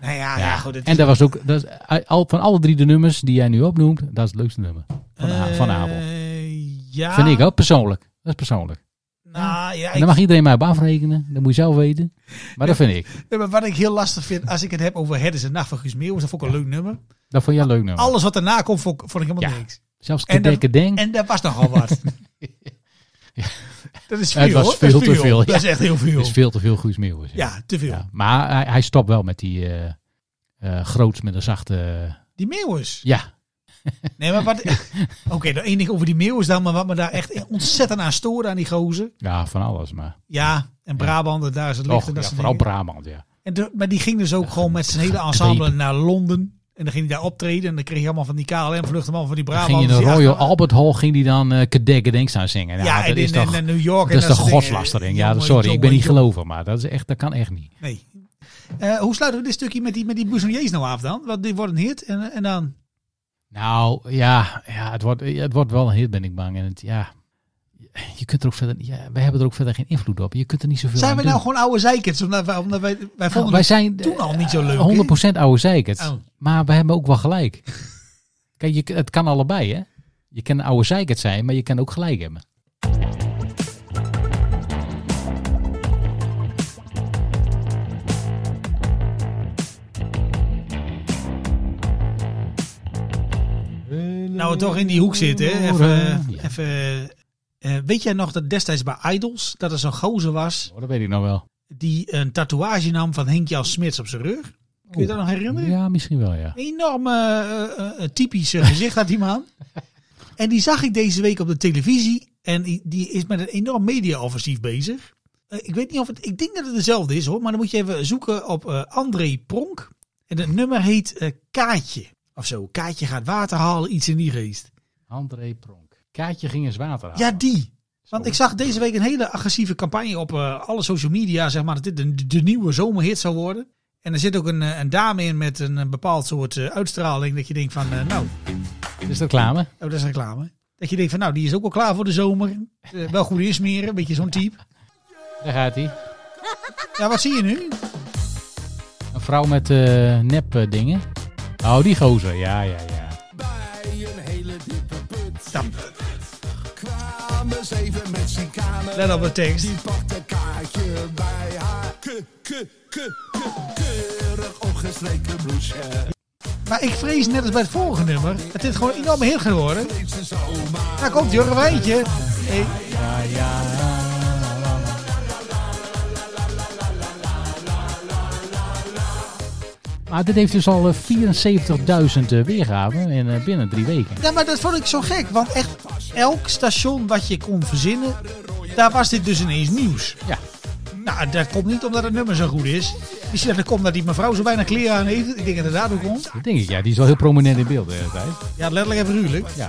B: Nou ja, ja. goed. het
A: en
B: is-
A: dat was ook, dat is, eh, al, van alle drie de nummers die jij nu opnoemt, dat is het leukste nummer van, A- van Abel.
B: Eh, ja.
A: Vind ik ook persoonlijk. Dat is persoonlijk.
B: Nou, ja,
A: En
B: ik,
A: dan mag iedereen mij op afrekenen. Dat moet je zelf weten. Maar dat vind ik.
B: nee, maar wat ik heel lastig vind, als ik het heb over Het is een nacht van Guus Meeuwis, dat vond ik een leuk nummer.
A: Dat vond jij een leuk nummer.
B: Alles wat daarna komt, vond, ik- vond ik helemaal
A: Ja.
B: niks.
A: Zelfs
B: En dat-
A: Kedekke Deng.
B: En dat was nogal wat. Dat is veel,
A: Het was
B: hoor.
A: veel
B: Dat is
A: te veel, ja.
B: Dat is echt heel veel.
A: is veel te veel Guus Meeuwis.
B: Ja, te veel.
A: Ja, Maar hij, hij stopt wel met die eh, eh, groots met een zachte...
B: Die Meeuwis.
A: Ja,
B: Nee, maar wat... Oké, dan één ding over die Meeuwis dan, maar wat me daar echt ontzettend aan stoorde aan die gozer.
A: ja, van alles. Maar
B: Ja, en Brabant, daar is het licht.
A: toch,
B: en dat
A: ja,
B: soort
A: vooral
B: dingen.
A: Brabant, ja.
B: En de- maar die ging dus ook gewoon met zijn hele ensemble naar Londen. En dan ging hij daar optreden. En dan kreeg je allemaal van die KLM-vluchten, allemaal van die
A: Dan
B: Brabant. dus
A: ging je in de
B: die
A: Royal
B: achter-
A: Albert Hall ging die dan eh Kedekke Deng staan zingen. Ja,
B: Ja, en
A: dat is
B: in,
A: toch...
B: in, in New York. en
A: dat is
B: dat
A: de
B: soort dingen.
A: godslastering. Ja,
B: Jongen,
A: sorry, ik ben
B: jongen,
A: niet
B: jongen.
A: geloven, maar dat, is echt, dat kan echt niet.
B: Nee. Eh, hoe sluiten we dit stukje met die, met die boezemjees nou af dan? Want dit wordt een hit en, en dan...
A: Nou, ja, ja het, wordt, het wordt wel een hit, ben ik bang. En het, ja, je kunt er ook verder, ja, wij hebben er ook verder geen invloed op. Je kunt er niet zoveel
B: Zijn
A: aan
B: we nou
A: doen.
B: gewoon oude zeikers? Omdat wij, omdat wij, wij
A: Nou,
B: vonden
A: wij
B: het
A: zijn
B: toen al niet zo leuk. hè?
A: eh, 100% oude zeikert.
B: Oh.
A: Maar we hebben ook wel gelijk. Kijk, je, het kan allebei, hè? Je kan een oude zeikert zijn, maar je kan ook gelijk hebben.
B: Nou, we toch in die hoek zitten. Even,
A: Ja.
B: even, eh, weet jij nog dat destijds bij Idols... dat er zo'n gozer was
A: Oh, dat weet ik nog wel.
B: die een tatoeage nam van Henk Jan Smits op zijn rug? Kun je dat nog herinneren?
A: Ja, misschien wel, ja.
B: enorm eh, eh, eh, typisch eh, gezicht had die man. En die zag ik deze week op de televisie. En i- die is met een enorm media-offensief bezig. Eh, ik weet niet of het. Ik denk dat het dezelfde is hoor. Maar dan moet je even zoeken op eh, André Pronk. En het nummer heet eh, Kaatje. Of zo. Kaatje gaat water halen, iets in die geest.
A: André Pronk. Kaatje ging eens water halen.
B: Ja, die. Want
A: Zo.
B: ik zag deze week een hele agressieve campagne op eh, alle social media, zeg maar, dat dit de, de nieuwe zomerhit zou worden. En er zit ook een, eh, een dame in met een, eh, bepaald soort eh, uitstraling dat je denkt van, eh, nou,
A: Is dat reclame?
B: oh, dat is reclame. Dat je denkt van, nou, die is ook wel klaar voor de zomer. Eh, wel goed insmeren, een beetje zo'n type.
A: Daar gaat hij.
B: Ja, wat zie je nu?
A: Een vrouw met eh nep eh, dingen. Oh, die gozer. Ja, ja, ja.
F: Bij een hele diepe put
B: Nou,
F: kwamen zeven Mexicanen.
B: let op de tekst.
F: Die pakte kaartje bij haar. Ke, ke, ke, ke, keurig opgestreken bloesje.
B: Maar ik vrees net als bij het vorige nummer, dat dit gewoon een enorme hit gaat worden. Daar komt Jurgen Wijntje. Hey.
A: Maar dit heeft dus al eh, 74.000 eh, weergaven in, eh, binnen drie weken.
B: Ja, maar dat vond ik zo gek. Want echt elk station wat je kon verzinnen, daar was dit dus ineens nieuws.
A: Ja.
B: Nou, dat komt niet omdat het nummer zo goed is. Misschien dat het komt omdat die mevrouw zo weinig kleren aan heeft. Ik denk dat het daardoor komt.
A: Dat denk ik, ja. Die is wel heel prominent in beeld eh, de hele tijd.
B: Ja, letterlijk en figuurlijk.
A: Ja.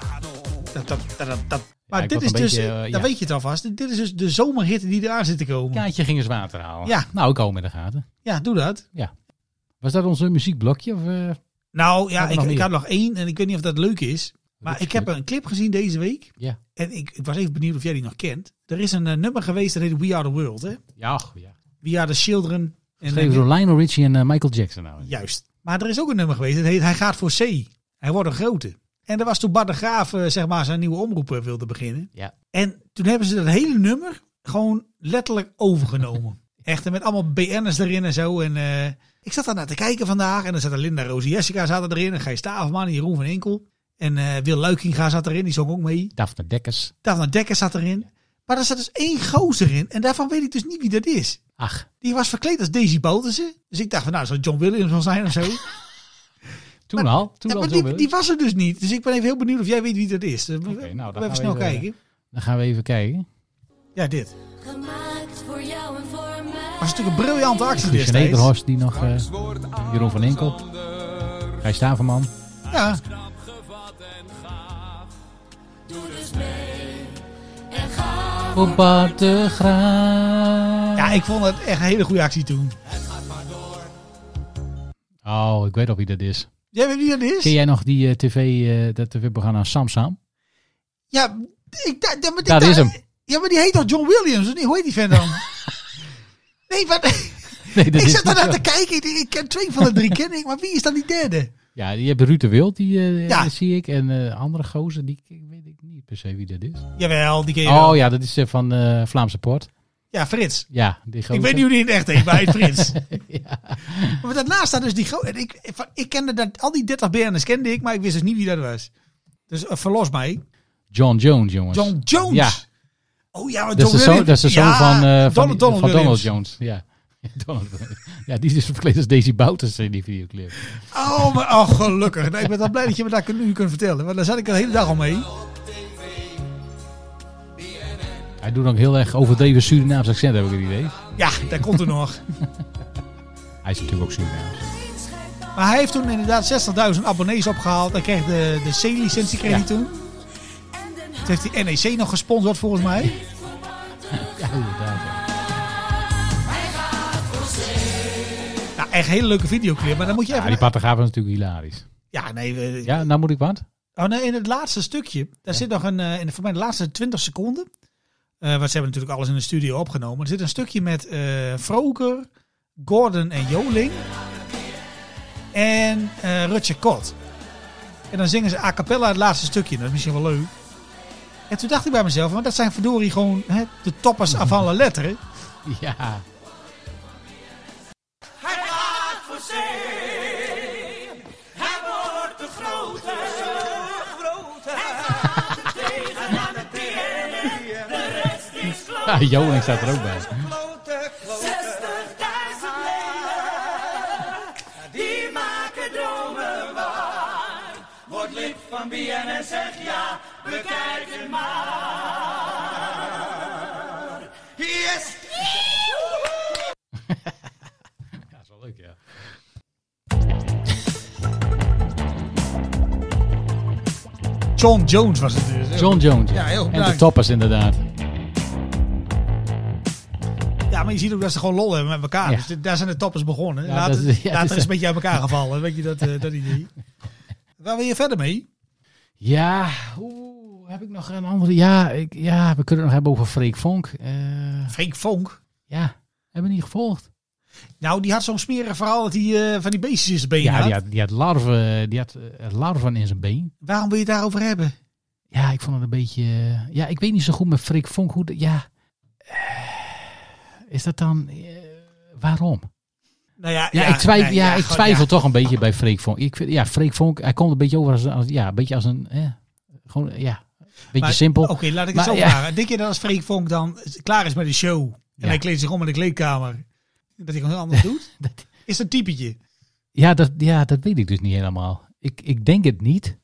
B: Dat, dat, dat, dat, dat. Maar
A: ik
B: dit
A: word
B: is
A: een
B: dus,
A: beetje, eh,
B: daar
A: ja.
B: weet je het alvast, dit is dus de zomerhit die eraan zit te komen. Ja,
A: Kaatje ging eens water halen.
B: Ja.
A: Nou, ik hou hem in de gaten.
B: doe dat.
A: Was dat ons eh, muziekblokje? Of, eh,
B: Nou ja,
A: Hebben we
B: ik,
A: nog
B: ik
A: meer?
B: had nog één en ik weet niet of dat leuk is. Maar ik heb een clip gezien deze week.
A: Ja.
B: En ik, ik was even benieuwd of jij die nog kent. Er is een eh, nummer geweest dat heet We Are The World, hè?
A: Ja, ach, ja.
B: We Are The Children. En-
A: Geschreven door Lionel Richie en eh, Michael Jackson. Nou.
B: Juist. Maar er is ook een nummer geweest. Het heet Hij gaat voor C. Hij wordt een grote. En dat was toen Bart de Graaf eh, zeg maar, zijn nieuwe omroep eh, wilde beginnen.
A: Ja.
B: En toen hebben ze dat hele nummer gewoon letterlijk overgenomen. Echt, en met allemaal BN'ers erin en zo. En eh, ik zat daarnaar te kijken vandaag. En dan zaten Linda, Rosie, Jessica zaten erin. En Gijs Staverman en Jeroen van Enkel. En eh, Wil Luikinga zat erin. Die zong ook mee.
A: Daphne Dekkers.
B: Daphne Dekker zat erin. Maar er zat dus één gozer in. En daarvan weet ik dus niet wie dat is.
A: Ach,
B: Die was verkleed als Daisy Boutersen. Dus ik dacht van, nou, zou John Williams wel zijn of zo.
A: toen al. Toen
B: Ja,
A: al
B: maar
A: zo
B: die,
A: wel.
B: die was er dus niet. Dus ik ben even heel benieuwd of jij weet wie dat is. Dus we- we-
A: nou, dan
B: even
A: gaan
B: snel
A: we even-
B: kijken.
A: Dan gaan we even kijken.
B: Ja, dit.
E: Gemaakt voor jou en voor mij.
B: Was natuurlijk een briljante actie
A: Christian
B: destijds.
A: Eberhorst, die nog... eh, Jeroen van Enkel. Gijs Staverman.
B: Ja,
E: Doe dus mee en ga.
A: Op Bart de Graaf.
B: ja, ik vond het echt een hele goede actie toen.
A: Oh, ik weet al wie dat is.
B: Jij weet wie dat is?
A: Ken jij nog die eh, tv, eh, dat tv-programma Sam Sam?
B: Ja, ik, da, da- maar,
A: Dat
B: da-
A: is hem.
B: Ja, maar die heet toch John Williams? of niet? Hoe heet die vent dan? nee, maar
A: Nee, dat
B: ik
A: is
B: zat
A: niet
B: daarnaar
A: zo.
B: te kijken. Ik, denk, ik ken twee van de drie, ken ik. Maar wie is dan die derde?
A: Ja, je hebt Ruud de Wild, die eh,
B: Ja.
A: zie ik. En eh, andere gozer, die ik- weet ik niet per se wie dat is.
B: Jawel, die ken je wel.
A: Oh ja, dat is eh, van eh Vlaamse Port.
B: Ja, Frits.
A: Ja, die gozer.
B: Ik weet niet hoe die in het echt heet, maar hij heet Frits.
A: Ja.
B: Maar daarnaast staat dus die grote... Ik, van- ik kende dat, al die 30 BN'ers kende ik, maar ik wist dus niet wie dat was. Dus eh, verlos mij.
A: John Jones, jongens.
B: John Jones.
A: Ja.
B: Oh ja, maar
A: Dat is de
B: John
A: zoon,
B: Williams.
A: dat is de zoon
B: Ja,
A: van, eh, van,
B: Donald,
A: van
B: Donald
A: Donald
B: Williams.
A: Jones. Ja. Donald, ja, die is dus verkleed als Daisy Bouters in die videoclip.
B: Oh, maar, oh, gelukkig. Nou, ik ben dan blij dat je me dat kun- nu kunt vertellen. Want daar zat ik de hele dag al mee.
A: Hij doet ook heel erg overdreven Surinaams accent, heb ik het idee.
B: Ja, daar komt er nog.
A: Hij is natuurlijk ook Surinaams.
B: Maar hij heeft toen inderdaad 60.000 abonnees opgehaald. Hij kreeg de, de C-licentie kreeg hij toen. Toen heeft hij NEC nog gesponsord volgens mij.
A: Ja, inderdaad. ja.
B: Nou, echt een hele leuke videoclip. Maar dan moet je
A: Ja,
B: even...
A: die pategaaf is natuurlijk hilarisch.
B: Ja, nee. we-
A: Ja, nou moet ik wat?
B: Oh nee, in het laatste stukje. Daar zit nog een, eh, in de, voor mij de laatste 20 seconden. Eh want ze hebben natuurlijk alles in de studio opgenomen. Er zit een stukje met eh Froker, Gordon en Joling. En eh Rutje Kot. En dan zingen ze a cappella het laatste stukje. Dat is misschien wel leuk. En toen dacht ik bij mezelf, want dat zijn verdorie gewoon hè, de toppers af alle letteren.
A: Ja. Ja, Joling staat er ook bij.
B: John Jones was het dus.
A: John Jones.
B: Ja, heel
A: en de
B: bedankt.
A: toppers inderdaad.
B: Ja, maar je ziet ook dat ze gewoon lol hebben met elkaar.
A: Ja.
B: Dus dit- daar zijn de toppers begonnen.
A: Ja,
B: later
A: dat is- ja,
B: later
A: dat is-
B: is het een beetje uit elkaar gevallen. Weet je dat, eh, dat idee? Waar wil je verder mee?
A: Ja, oeh, heb ik nog een andere? Ja, ik, ja we kunnen het nog hebben over Freek Vonk. Eh,
B: Freek Vonk.
A: ja, hebben we niet gevolgd.
B: Nou, die had zo'n smerig verhaal dat hij eh, van die beestjes in zijn benen
A: Ja,
B: had.
A: die had, die had larven, die had eh, larven in zijn been.
B: Waarom wil je het daarover hebben?
A: Ja, ik vond het een beetje... eh, Ja, ik weet niet zo goed met Freek Vonk. Hoe de- ja, eh, is dat dan... eh, waarom?
B: Nou ja,
A: Ja, ik, twijf,
B: nee,
A: ja, ik
B: gewoon,
A: twijfel
B: ja.
A: toch een beetje bij Freek Vonk. Ik vind, ja, Freek Vonk, hij komt een beetje over als, als- ja, een, beetje als een... eh, gewoon, ja, een beetje
B: Maar-
A: simpel.
B: Oké, laat ik het
A: Maar
B: zo
A: ja.
B: vragen. Denk je dat als Freek Vonk dan klaar is met de show... en
A: Ja.
B: hij kleedt zich om in de kleedkamer... dat hij gewoon heel anders doet?
A: Dat-
B: Is dat typetje?
A: Ja dat, ja, dat weet ik dus niet helemaal. Ik, ik denk het niet,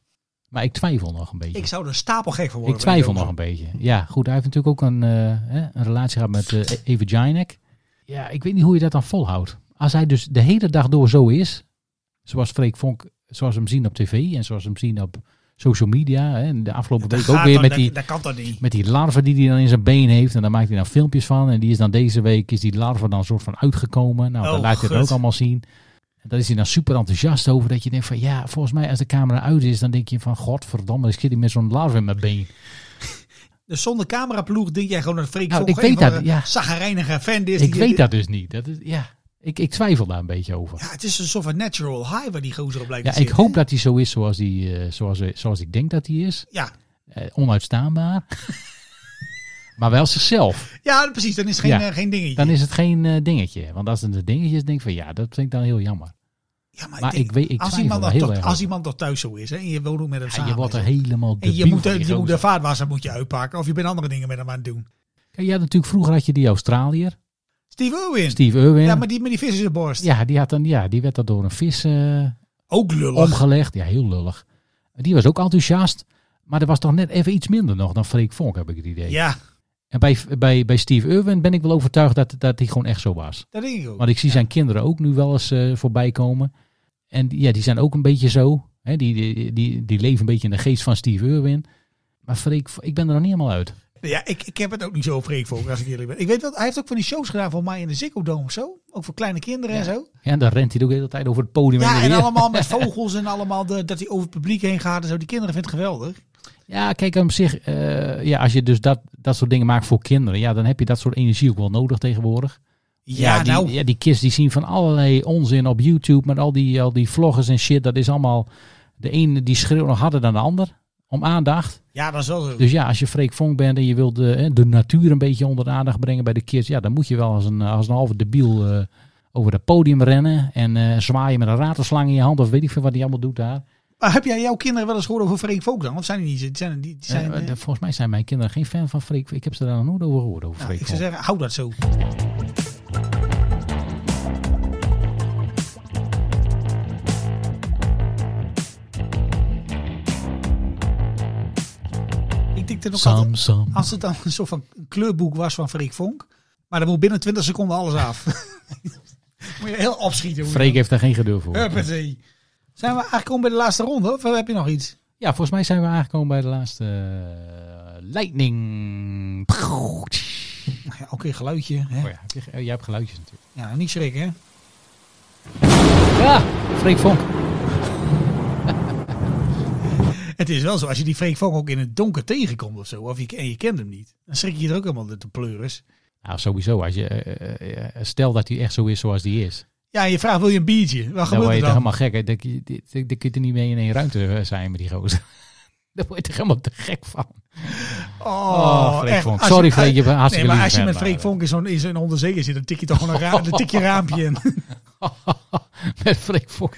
A: maar ik twijfel nog een beetje.
B: Ik
A: Ik,
B: zou er stapel gek van worden.
A: twijfel nog
B: een
A: een beetje. Ja, goed, hij heeft natuurlijk ook een, eh, hè, een relatie gehad met eh Eva Jinek. Ja, ik weet niet hoe je dat dan volhoudt. Als hij dus de hele dag door zo is, zoals Freek Vonk, zoals we hem zien op tv en zoals we hem zien op social media. Hè, en de afgelopen week ook weer met die,
B: Dat kan toch niet?
A: met die larven die hij dan in zijn been heeft. En daar maakt hij dan filmpjes van. En die is dan deze week, is die larve dan soort van uitgekomen. Nou,
B: Oh,
A: dat laat je het
B: gut.
A: ook allemaal zien. En daar is hij dan super enthousiast over. Dat je denkt van, ja, volgens mij als de camera uit is, dan denk je van, godverdamme, ik zit hier met zo'n larve in mijn been.
B: Dus zonder cameraploeg denk jij gewoon dat Freek
A: Nou,
B: Vonk...
A: ik weet dat, ja.
B: Zaggerijnige fan is.
A: Ik
B: die-
A: weet dat dus niet. Dat is, ja, ik, ik twijfel daar een beetje over.
B: Ja, het is een soort van natural high waar die gozer op blijkt
A: Ja,
B: te
A: ik
B: zitten.
A: hoop dat hij zo is zoals, die, eh, zoals, zoals ik denk dat hij is.
B: Ja.
A: Eh, onuitstaanbaar. maar wel zichzelf.
B: ja, precies. Dan is het geen,
A: Ja.
B: eh, geen dingetje.
A: Dan is het geen eh, dingetje. Want als het een dingetje is, denk ik van ja, dat vind ik dan heel jammer.
B: ja,
A: maar
B: denk-
A: ik weet- ik
B: als,
A: twijfel
B: iemand
A: wel
B: dat
A: heel
B: toch-
A: erg
B: als
A: over.
B: iemand toch thuis zo is hè, en je woont ook met hem
A: Ja,
B: samen.
A: je wordt er
B: is,
A: helemaal
B: en
A: debiel
B: je moet,
A: van
B: de-
A: die
B: je moet de
A: gozer.
B: vaatwasser moet je uitpakken of je bent andere dingen met hem aan het doen.
A: Kijk, je had natuurlijk vroeger had je die Australiër,
B: Steve Irwin.
A: Steve Irwin.
B: Ja, maar die met die vis in zijn borst.
A: Ja, die, had dan, ja, die werd dan door een vis eh,
B: Ook lullig.
A: omgelegd. Ja, heel lullig. Die was ook enthousiast. Maar er was toch net even iets minder nog dan Freek Vonk, heb ik het idee.
B: Ja,
A: En bij, bij, bij Steve Irwin ben ik wel overtuigd dat, dat hij gewoon echt zo was.
B: dat denk ik ook.
A: Want ik zie zijn kinderen ook nu wel eens eh, voorbij komen. En die- ja, die zijn ook een beetje zo. Hè, die, die, die, die leven een beetje in de geest van Steve Irwin. Maar Freek, ik ben er nog niet helemaal uit.
B: Ja, ik, ik heb het ook niet zo over Volk, als ik eerlijk ben. Ik weet wel, hij heeft ook van die shows gedaan voor mij in de Ziggo Dome of zo. Ook voor kleine kinderen en zo.
A: Ja, en dan rent hij ook de hele tijd over het podium. heen
B: Ja, en
A: weer.
B: allemaal met vogels en allemaal de, dat hij over het publiek heen gaat en zo. Die kinderen vinden het geweldig.
A: Ja, kijk, op zich, eh, ja, als je dus dat, dat soort dingen maakt voor kinderen, ja, dan heb je dat soort energie ook wel nodig tegenwoordig.
B: Ja,
A: die,
B: nou.
A: Ja, die kids die zien van allerlei onzin op YouTube met al die, al die vloggers en shit. Dat is allemaal, de ene die schreeuwt nog harder dan de ander om aandacht.
B: Ja, dat is wel zo.
A: Dus ja, als je Freek Vonk bent en je wilt de, hè, de natuur een beetje onder de aandacht brengen bij de kids, ja, dan moet je wel als een, als een halve debiel eh, over het podium rennen en eh, zwaaien met een ratelslang in je hand of weet ik veel wat hij allemaal doet daar.
B: Maar heb jij jouw kinderen wel eens gehoord over Freek Volk dan? Of zijn die niet? Die zijn, die, die zijn,
A: Eh,
B: eh,
A: de- volgens mij zijn mijn kinderen geen fan van Freek. Ik heb ze daar nog nooit over gehoord, over
B: nou,
A: Freek.
B: ik zou
A: Vonk.
B: zeggen, hou dat zo. Ik denk dat ook altijd,
A: Sam, Sam.
B: als het dan een soort van kleurboek was van Freek Vonk. Maar dan moet binnen 20 seconden alles af. moet je heel opschieten. hoe je
A: Freek heeft daar geen geduld voor.
B: dat- Huppatee. Zijn we aangekomen bij de laatste ronde? Of heb je nog iets?
A: Ja, volgens mij zijn we aangekomen bij de laatste eh, Lightning. Oh
B: Nou Ja, Oké, geluidje. Hè?
A: ja, heb je ge- eh, jij hebt geluidjes natuurlijk.
B: Ja, niet schrikken, hè?
A: Ja, Ah, Freek Vonk.
B: Het is wel zo, als je die Freek Vonk ook in het donker tegenkomt of zo, of je, en je kent hem niet, dan schrik je er ook helemaal de, de pleuris.
A: Nou, sowieso. Als je, eh, eh, eh, stel dat hij echt zo is zoals die is.
B: Ja, en je vraagt, wil je een biertje? Wat
A: Dan
B: gebeurt
A: word Nou, je
B: er
A: toch
B: dan?
A: helemaal gek. hè? Dan kun je- dan- dan kun je er niet mee in één ruimte eh, zijn met die gozer. Daar word je toch helemaal te gek van. Oh, Freek
B: echt,
A: Vonk.
B: als je-
A: Sorry, Freek, je bent
B: Nee,
A: hartstikke
B: maar
A: lieve
B: als je
A: vent,
B: met
A: maar-
B: Freek Vonk in zo'n in zo'n onderzeeër zit, dan tik je toch gewoon een, ra dan tik je een raampje in.
A: Met Freek Vonk.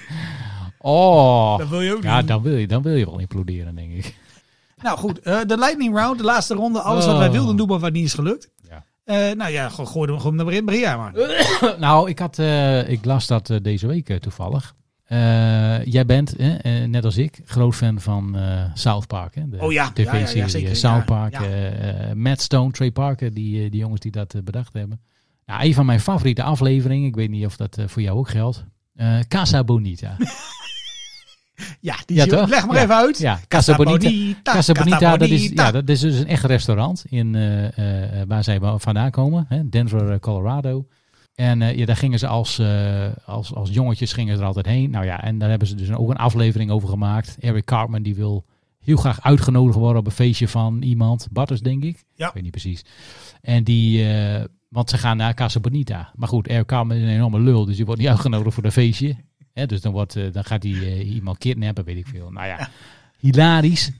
A: Oh.
B: Dat wil je ook
A: Ja,
B: niet.
A: dan wil je, dan wil je wel imploderen, denk ik.
B: Nou goed, eh, de lightning round, de laatste ronde. Alles wat
A: Oh.
B: wij wilden doen, maar wat niet is gelukt.
A: Ja.
B: Eh, nou ja, go- gooi hem gewoon naar begin. Maria, man.
A: Nou, ik, had, eh, ik las dat eh, deze week eh, toevallig. Eh, jij bent, eh, eh, net als ik, groot fan van eh, South Park. Hè? De
B: Oh ja, ja, ja, ja,
A: tv-serie eh,
B: zeker,
A: South
B: ja,
A: Park.
B: ja.
A: eh, eh, Matt Stone, Trey Parker, die, eh, die jongens die dat eh, bedacht hebben. Nou, een van mijn favoriete afleveringen, ik weet niet of dat eh, voor jou ook geldt. Eh Casa Bonita.
B: Ja, die
A: Ja,
B: is heel-
A: toch?
B: leg maar
A: Ja.
B: even uit.
A: Ja, Casa Bonita. Casa Bonita, dat is,
B: Catabonita.
A: ja, dat is dus een echt restaurant in, eh, eh, eh, waar zij wa- vandaan komen. Hè? Denver, eh, Colorado. En eh, ja, daar gingen ze als, eh, als, als jongetjes gingen ze er altijd heen. Nou ja, en daar hebben ze dus ook een aflevering over gemaakt. Eric Cartman die wil heel graag uitgenodigd worden op een feestje van iemand. Barters, denk ik.
B: Ja.
A: Ik weet niet precies. En die... eh, want ze gaan naar Casa Bonita. Maar goed, Eric Cartman is een enorme lul. Dus die wordt niet uitgenodigd voor dat feestje. Hè, dus dan, wordt, eh, dan gaat hij eh, iemand kidnappen, weet ik veel. Nou ja, hilarisch.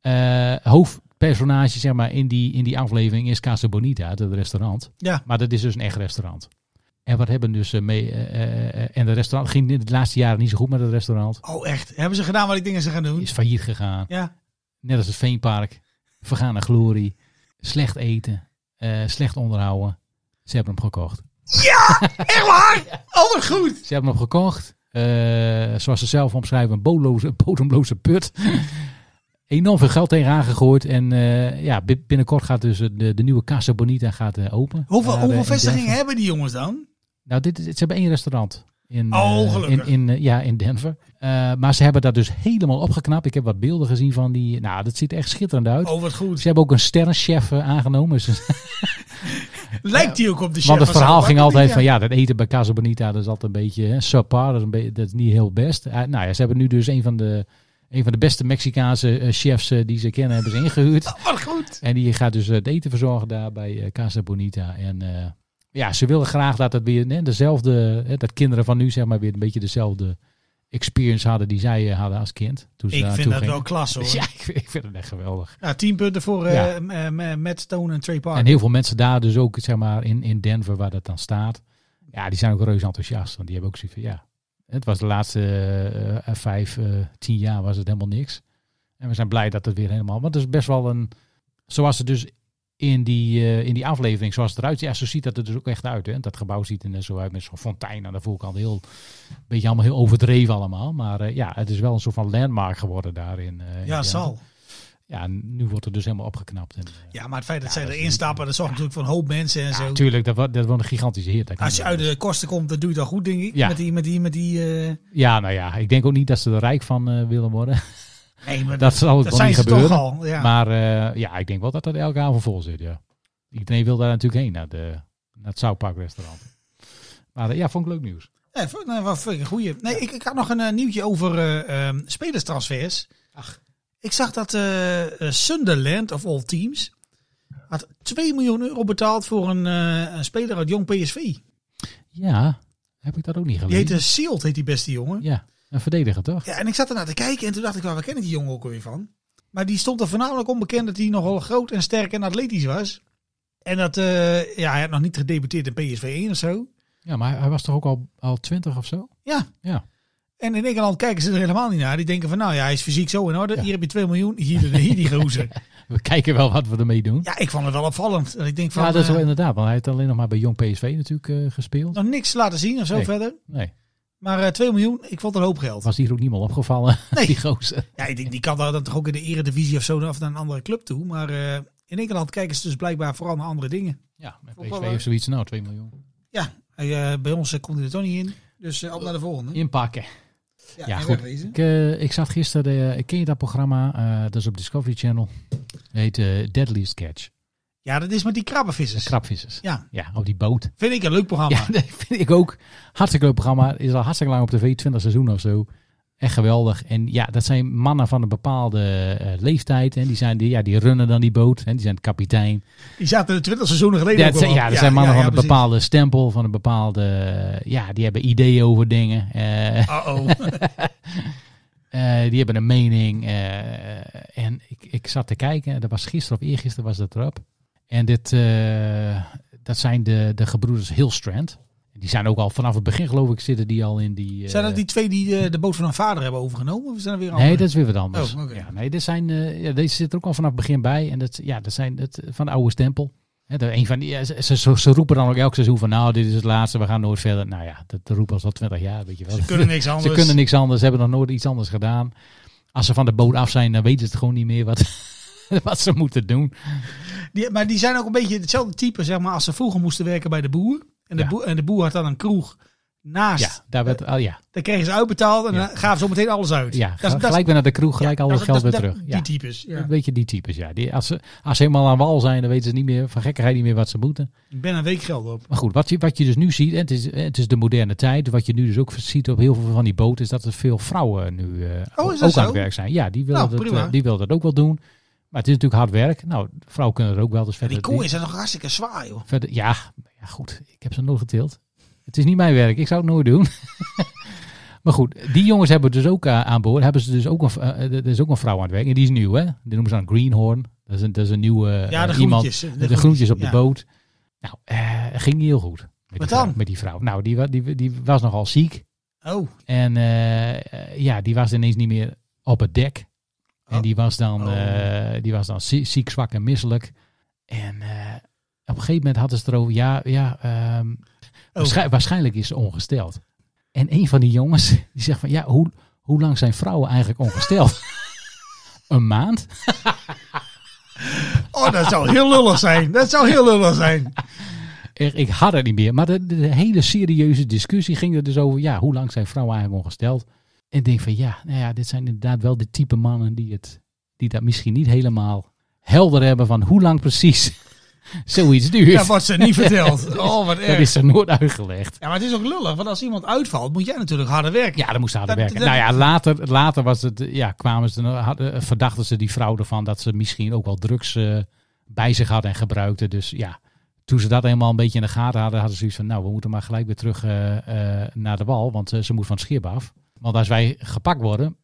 A: Eh, hoofdpersonage zeg maar, in, die, in die aflevering is Casa Bonita, het restaurant.
B: Ja.
A: Maar dat is dus een echt restaurant. En wat hebben dus eh, mee... eh, eh, eh, en dat restaurant ging in de laatste jaren niet zo goed met het restaurant.
B: Oh, echt? Hebben ze gedaan wat ik denk dat ze gaan doen?
A: Is failliet gegaan.
B: Ja.
A: Net als het Veenpark. Vergaan naar glorie. Slecht eten. eh, slecht onderhouden. Ze hebben hem gekocht.
B: Echt waar? Oh, wat goed.
A: Ze hebben hem gekocht. Eh, zoals ze zelf omschrijven, een bodemloze, een bodemloze put. Enorm veel geld tegenaan gegooid. En eh, ja, bi- binnenkort gaat dus de, de nieuwe Casa Bonita gaat, eh, open.
B: Hoeveel,
A: Daar, eh,
B: hoeveel
A: in
B: vestigingen
A: Denver.
B: hebben die jongens dan?
A: Nou, dit, is- ze hebben één restaurant. In,
B: Oh,
A: eh,
B: gelukkig.
A: In, in, eh, ja, in Denver. Eh, maar ze hebben dat dus helemaal opgeknapt. Ik heb wat beelden gezien van die. Nou, dat ziet er echt schitterend uit.
B: Oh, wat goed.
A: Ze hebben ook een sterrenchef eh, aangenomen. Dus-
B: Lijkt die ook op de chef?
A: Want het
B: van
A: verhaal
B: Salvatore
A: ging altijd
B: Bonita?
A: van ja, dat eten bij Casa Bonita dat is altijd een beetje hè, subpar, dat is, een beetje, dat is niet heel best. Eh, nou ja, ze hebben nu dus een van de, een van de beste Mexicaanse eh, chefs eh, die ze kennen, hebben ze ingehuurd.
B: Oh, wat goed.
A: En die gaat dus eh, het eten verzorgen daar bij eh, Casa Bonita. En eh, ja, ze willen graag dat het weer hè, dezelfde, hè, dat kinderen van nu zeg maar weer een beetje dezelfde experience hadden die zij eh, hadden als kind. Toen ze
B: Ik
A: daar
B: vind dat
A: naartoe
B: wel
A: gingen.
B: klasse hoor.
A: Ja,
B: Ja.
A: ik vind, ik vind het echt geweldig.
B: tien punten voor eh
A: Ja.
B: m- m- Matt Stone en Trey
A: En
B: Parker.
A: heel veel mensen daar dus ook, zeg maar, in, in Denver, waar dat dan staat. Ja, die zijn ook reuze enthousiast. Want die hebben ook zoiets van, ja, het was de laatste eh, eh, vijf, eh, tien jaar was het helemaal niks. En we zijn blij dat het weer helemaal... Want het is best wel een... Zoals het dus in die, eh, in die aflevering, zoals het eruit ziet. Ja, zo ziet dat er dus ook echt uit. Hè? Dat gebouw ziet er net zo uit met zo'n fontein aan de voorkant. Heel, beetje allemaal heel overdreven allemaal. Maar eh, ja, het is wel een soort van landmark geworden daarin. eh, in
B: ja,
A: Denver.
B: zal.
A: Ja, en nu wordt het dus helemaal opgeknapt. En, eh,
B: Ja, maar het feit dat
A: Ja,
B: zij
A: dat
B: erin
A: is-
B: stappen, dat zorgt natuurlijk voor een hoop mensen en
A: Ja,
B: zo.
A: tuurlijk, dat, wa- dat wordt een gigantische hit. dat kan
B: Als je
A: niet
B: uit de
A: anders.
B: kosten komt, dan doe je dat goed, denk ik.
A: Ja.
B: Met die, met die, met die... eh,
A: Ja, nou ja, ik denk ook niet dat ze er rijk van eh, willen worden.
B: Nee, maar
A: Dat zal ook
B: dat
A: wel
B: zijn
A: niet
B: ze
A: gebeuren.
B: toch al. Ja.
A: Maar eh, ja, ik denk wel dat dat elke avond vol zit, ja. Iedereen wil daar natuurlijk heen, naar, de, naar het Southpark restaurant. Maar eh, ja, vond ik leuk nieuws.
B: Nee, v- nee, wat vind ik een goeie. Nee, ik, ik had nog een eh, nieuwtje over eh, ehm, spelerstransfers. Ach. Ik zag dat eh, eh, Sunderland, of all teams, had 2 miljoen euro betaald voor een, eh, een speler uit Jong PSV.
A: Ja, heb ik dat ook niet
B: Die
A: gelezen.
B: heette Sealt, heet die beste jongen. Ja.
A: Ja, een verdediger toch?
B: en ik zat ernaar te kijken en toen dacht ik, waar ken ik die jongen ook alweer van? Maar die stond er voornamelijk onbekend dat hij nogal groot en sterk en atletisch was. En dat, eh, ja, hij had nog niet gedebuteerd in PSV 1 of zo.
A: Ja, maar hij, hij was toch ook al, al twintig of zo?
B: Ja.
A: Ja.
B: En in Engeland kijken ze er helemaal niet naar. Die denken van, nou ja, hij is fysiek zo in orde.
A: Ja.
B: Hier heb je 2 miljoen, hier, hier die gozer.
A: We kijken wel wat we ermee doen. Ja,
B: ja, ik vond het wel opvallend. En ik denk van,
A: dat is wel
B: eh,
A: inderdaad, want hij heeft alleen nog maar bij Jong PSV natuurlijk eh, gespeeld.
B: nog niks laten zien of zo
A: Nee.
B: verder.
A: Nee,
B: Maar eh 2 miljoen, ik vond het een hoop geld.
A: was hier ook niemand opgevallen,
B: Nee.
A: die gozer.
B: Ja, ik denk, die kan daar dan toch ook in de eredivisie of zo of naar een andere club toe. Maar eh, in Engeland kijken ze dus blijkbaar vooral naar andere dingen.
A: Ja, met
B: Ook wel
A: PSV
B: leuk.
A: heeft zoiets, nou 2 miljoen.
B: Ja, eh, bij ons eh, komt hij er toch niet in. Dus eh, op naar de volgende.
A: Inpakken.
B: Ja,
A: ja,
B: en
A: goed.
B: wegwezen.
A: Ik, eh, ik zat gisteren, eh, ik ken je dat programma? Eh, dat is op Discovery Channel. Het heet eh, Deadliest Catch.
B: Ja, dat is met die krabbenvissers.
A: Krabvissers.
B: Ja,
A: Ja, op die boot.
B: vind ik een leuk programma.
A: Ja, dat vind ik ook. Hartstikke leuk programma. Is al hartstikke lang op tv, 20 seizoenen of zo. Echt geweldig. En ja, dat zijn mannen van een bepaalde eh, leeftijd. En die, zijn, die, ja, die runnen dan die boot. En die zijn het kapitein.
B: Die zaten er 20 seizoenen geleden
A: Ja,
B: ook
A: dat zijn,
B: al
A: ja,
B: op.
A: dat zijn mannen
B: ja,
A: van een
B: ja, precies.
A: bepaalde stempel, van een bepaalde... Ja, die hebben ideeën over dingen. Eh,
B: Uh-oh.
A: eh, die hebben een mening. eh, en ik, ik zat te kijken, dat was gisteren of eergisteren was dat erop. En dit, eh, dat zijn de, de gebroeders Hillstrand. Die zijn ook al vanaf het begin, geloof ik, zitten die al in die... eh,
B: Zijn dat die twee die eh, de boot van hun vader hebben overgenomen? Of zijn er weer
A: Nee,
B: andere?
A: dat is weer wat anders.
B: Oh, oké.
A: ja, nee, dit zijn, eh, ja, deze zit er ook al vanaf het begin bij. En dat, ja, dat zijn het, van de oude stempel. Hè, dat een van die, ja, ze, ze, ze roepen dan ook elk seizoen van, nou, dit is het laatste, we gaan nooit verder. Nou ja, dat roepen ze al twintig jaar, weet je wel.
B: Ze kunnen niks anders.
A: Ze kunnen niks anders, ze hebben nog nooit iets anders gedaan. Als ze van de boot af zijn, dan weten ze het gewoon niet meer wat, wat ze moeten doen.
B: Die- maar die zijn ook een beetje hetzelfde type, zeg maar, als ze vroeger moesten werken bij de boer. En de,
A: Ja.
B: boer, en de boer had dan een kroeg. naast.
A: Ja, daar werd, ah, ja,
B: Dan kregen ze uitbetaald en
A: Ja.
B: dan gaven ze meteen alles uit.
A: ja.
B: dat is- dat is-
A: gelijk weer naar de kroeg, gelijk al
B: dat
A: het
B: is-
A: geld
B: dat
A: weer
B: is-
A: terug.
B: dat-
A: Ja.
B: Die types. Ja.
A: Een beetje die types, ja. Die, als, ze, als ze helemaal aan wal zijn, dan weten ze niet meer van gekkigheid niet meer wat ze moeten.
B: Ik ben een week geld op.
A: Maar goed, wat je, wat je dus nu ziet, en het is, het is de moderne tijd. Wat je nu dus ook ziet op heel veel van die boten, is dat er veel vrouwen nu eh,
B: Oh, is dat
A: ook aan
B: zo?
A: het werk zijn. Ja, die willen,
B: Nou,
A: dat,
B: prima.
A: eh, die willen dat ook wel doen. Maar het is natuurlijk hard werk. Nou, vrouwen kunnen er ook wel. Dus verder,
B: Die koeien zijn nog hartstikke zwaar, joh.
A: verder, ja, ja, goed. Ik heb ze nooit getild. Het is niet mijn werk. Ik zou het nooit doen. maar goed, die jongens hebben dus ook eh, aan boord. Hebben ze dus ook een, v- eh, er is ook een vrouw aan het werk. En die is nieuw, hè? Die noemen ze dan Greenhorn. Dat is een, dat is een nieuwe eh,
B: Ja, de
A: iemand.
B: groentjes.
A: De, groentjes op de
B: ja.
A: boot. Nou, eh, ging niet heel goed. Met die
B: Wat
A: vrouw-
B: dan?
A: met die vrouw. Nou, die, wa- die, die was nogal ziek.
B: Oh,
A: En eh, eh, ja, die was ineens niet meer op het dek. En
B: Oh.
A: die was dan,
B: Oh.
A: eh, die was dan zie- ziek, zwak en misselijk. En eh, op een gegeven moment hadden ze het erover, ja, ja ehm,
B: Oh.
A: waarschijn- waarschijnlijk is ze ongesteld. En een van die jongens, die zegt van, ja, hoe, hoe lang zijn vrouwen eigenlijk ongesteld? een maand?
B: oh, dat zou heel lullig zijn. Dat zou heel lullig zijn.
A: Ik, ik had het niet meer. Maar de, de hele serieuze discussie ging er dus over, ja, hoe lang zijn vrouwen eigenlijk ongesteld? En ik denk van, ja, nou ja, dit zijn inderdaad wel de type mannen die, het, die dat misschien niet helemaal helder hebben van hoe lang precies zoiets duurt.
B: Dat wordt ze niet verteld. Oh, wat
A: dat
B: erg.
A: is er nooit uitgelegd.
B: Ja, maar het is ook lullig, want als iemand uitvalt, moet jij natuurlijk harder werken.
A: Ja, dan moest ze harder
B: Dat-
A: werken.
B: dat-
A: nou ja, later, later was het, ja, kwamen ze, hadden, eh, verdachten ze die vrouw ervan dat ze misschien ook wel drugs eh, bij zich had en gebruikte. Dus ja, toen ze dat helemaal een beetje in de gaten hadden, hadden ze zoiets van, nou, we moeten maar gelijk weer terug eh, eh, naar de wal, want eh, ze moet van het schip af. Want als wij gepakt worden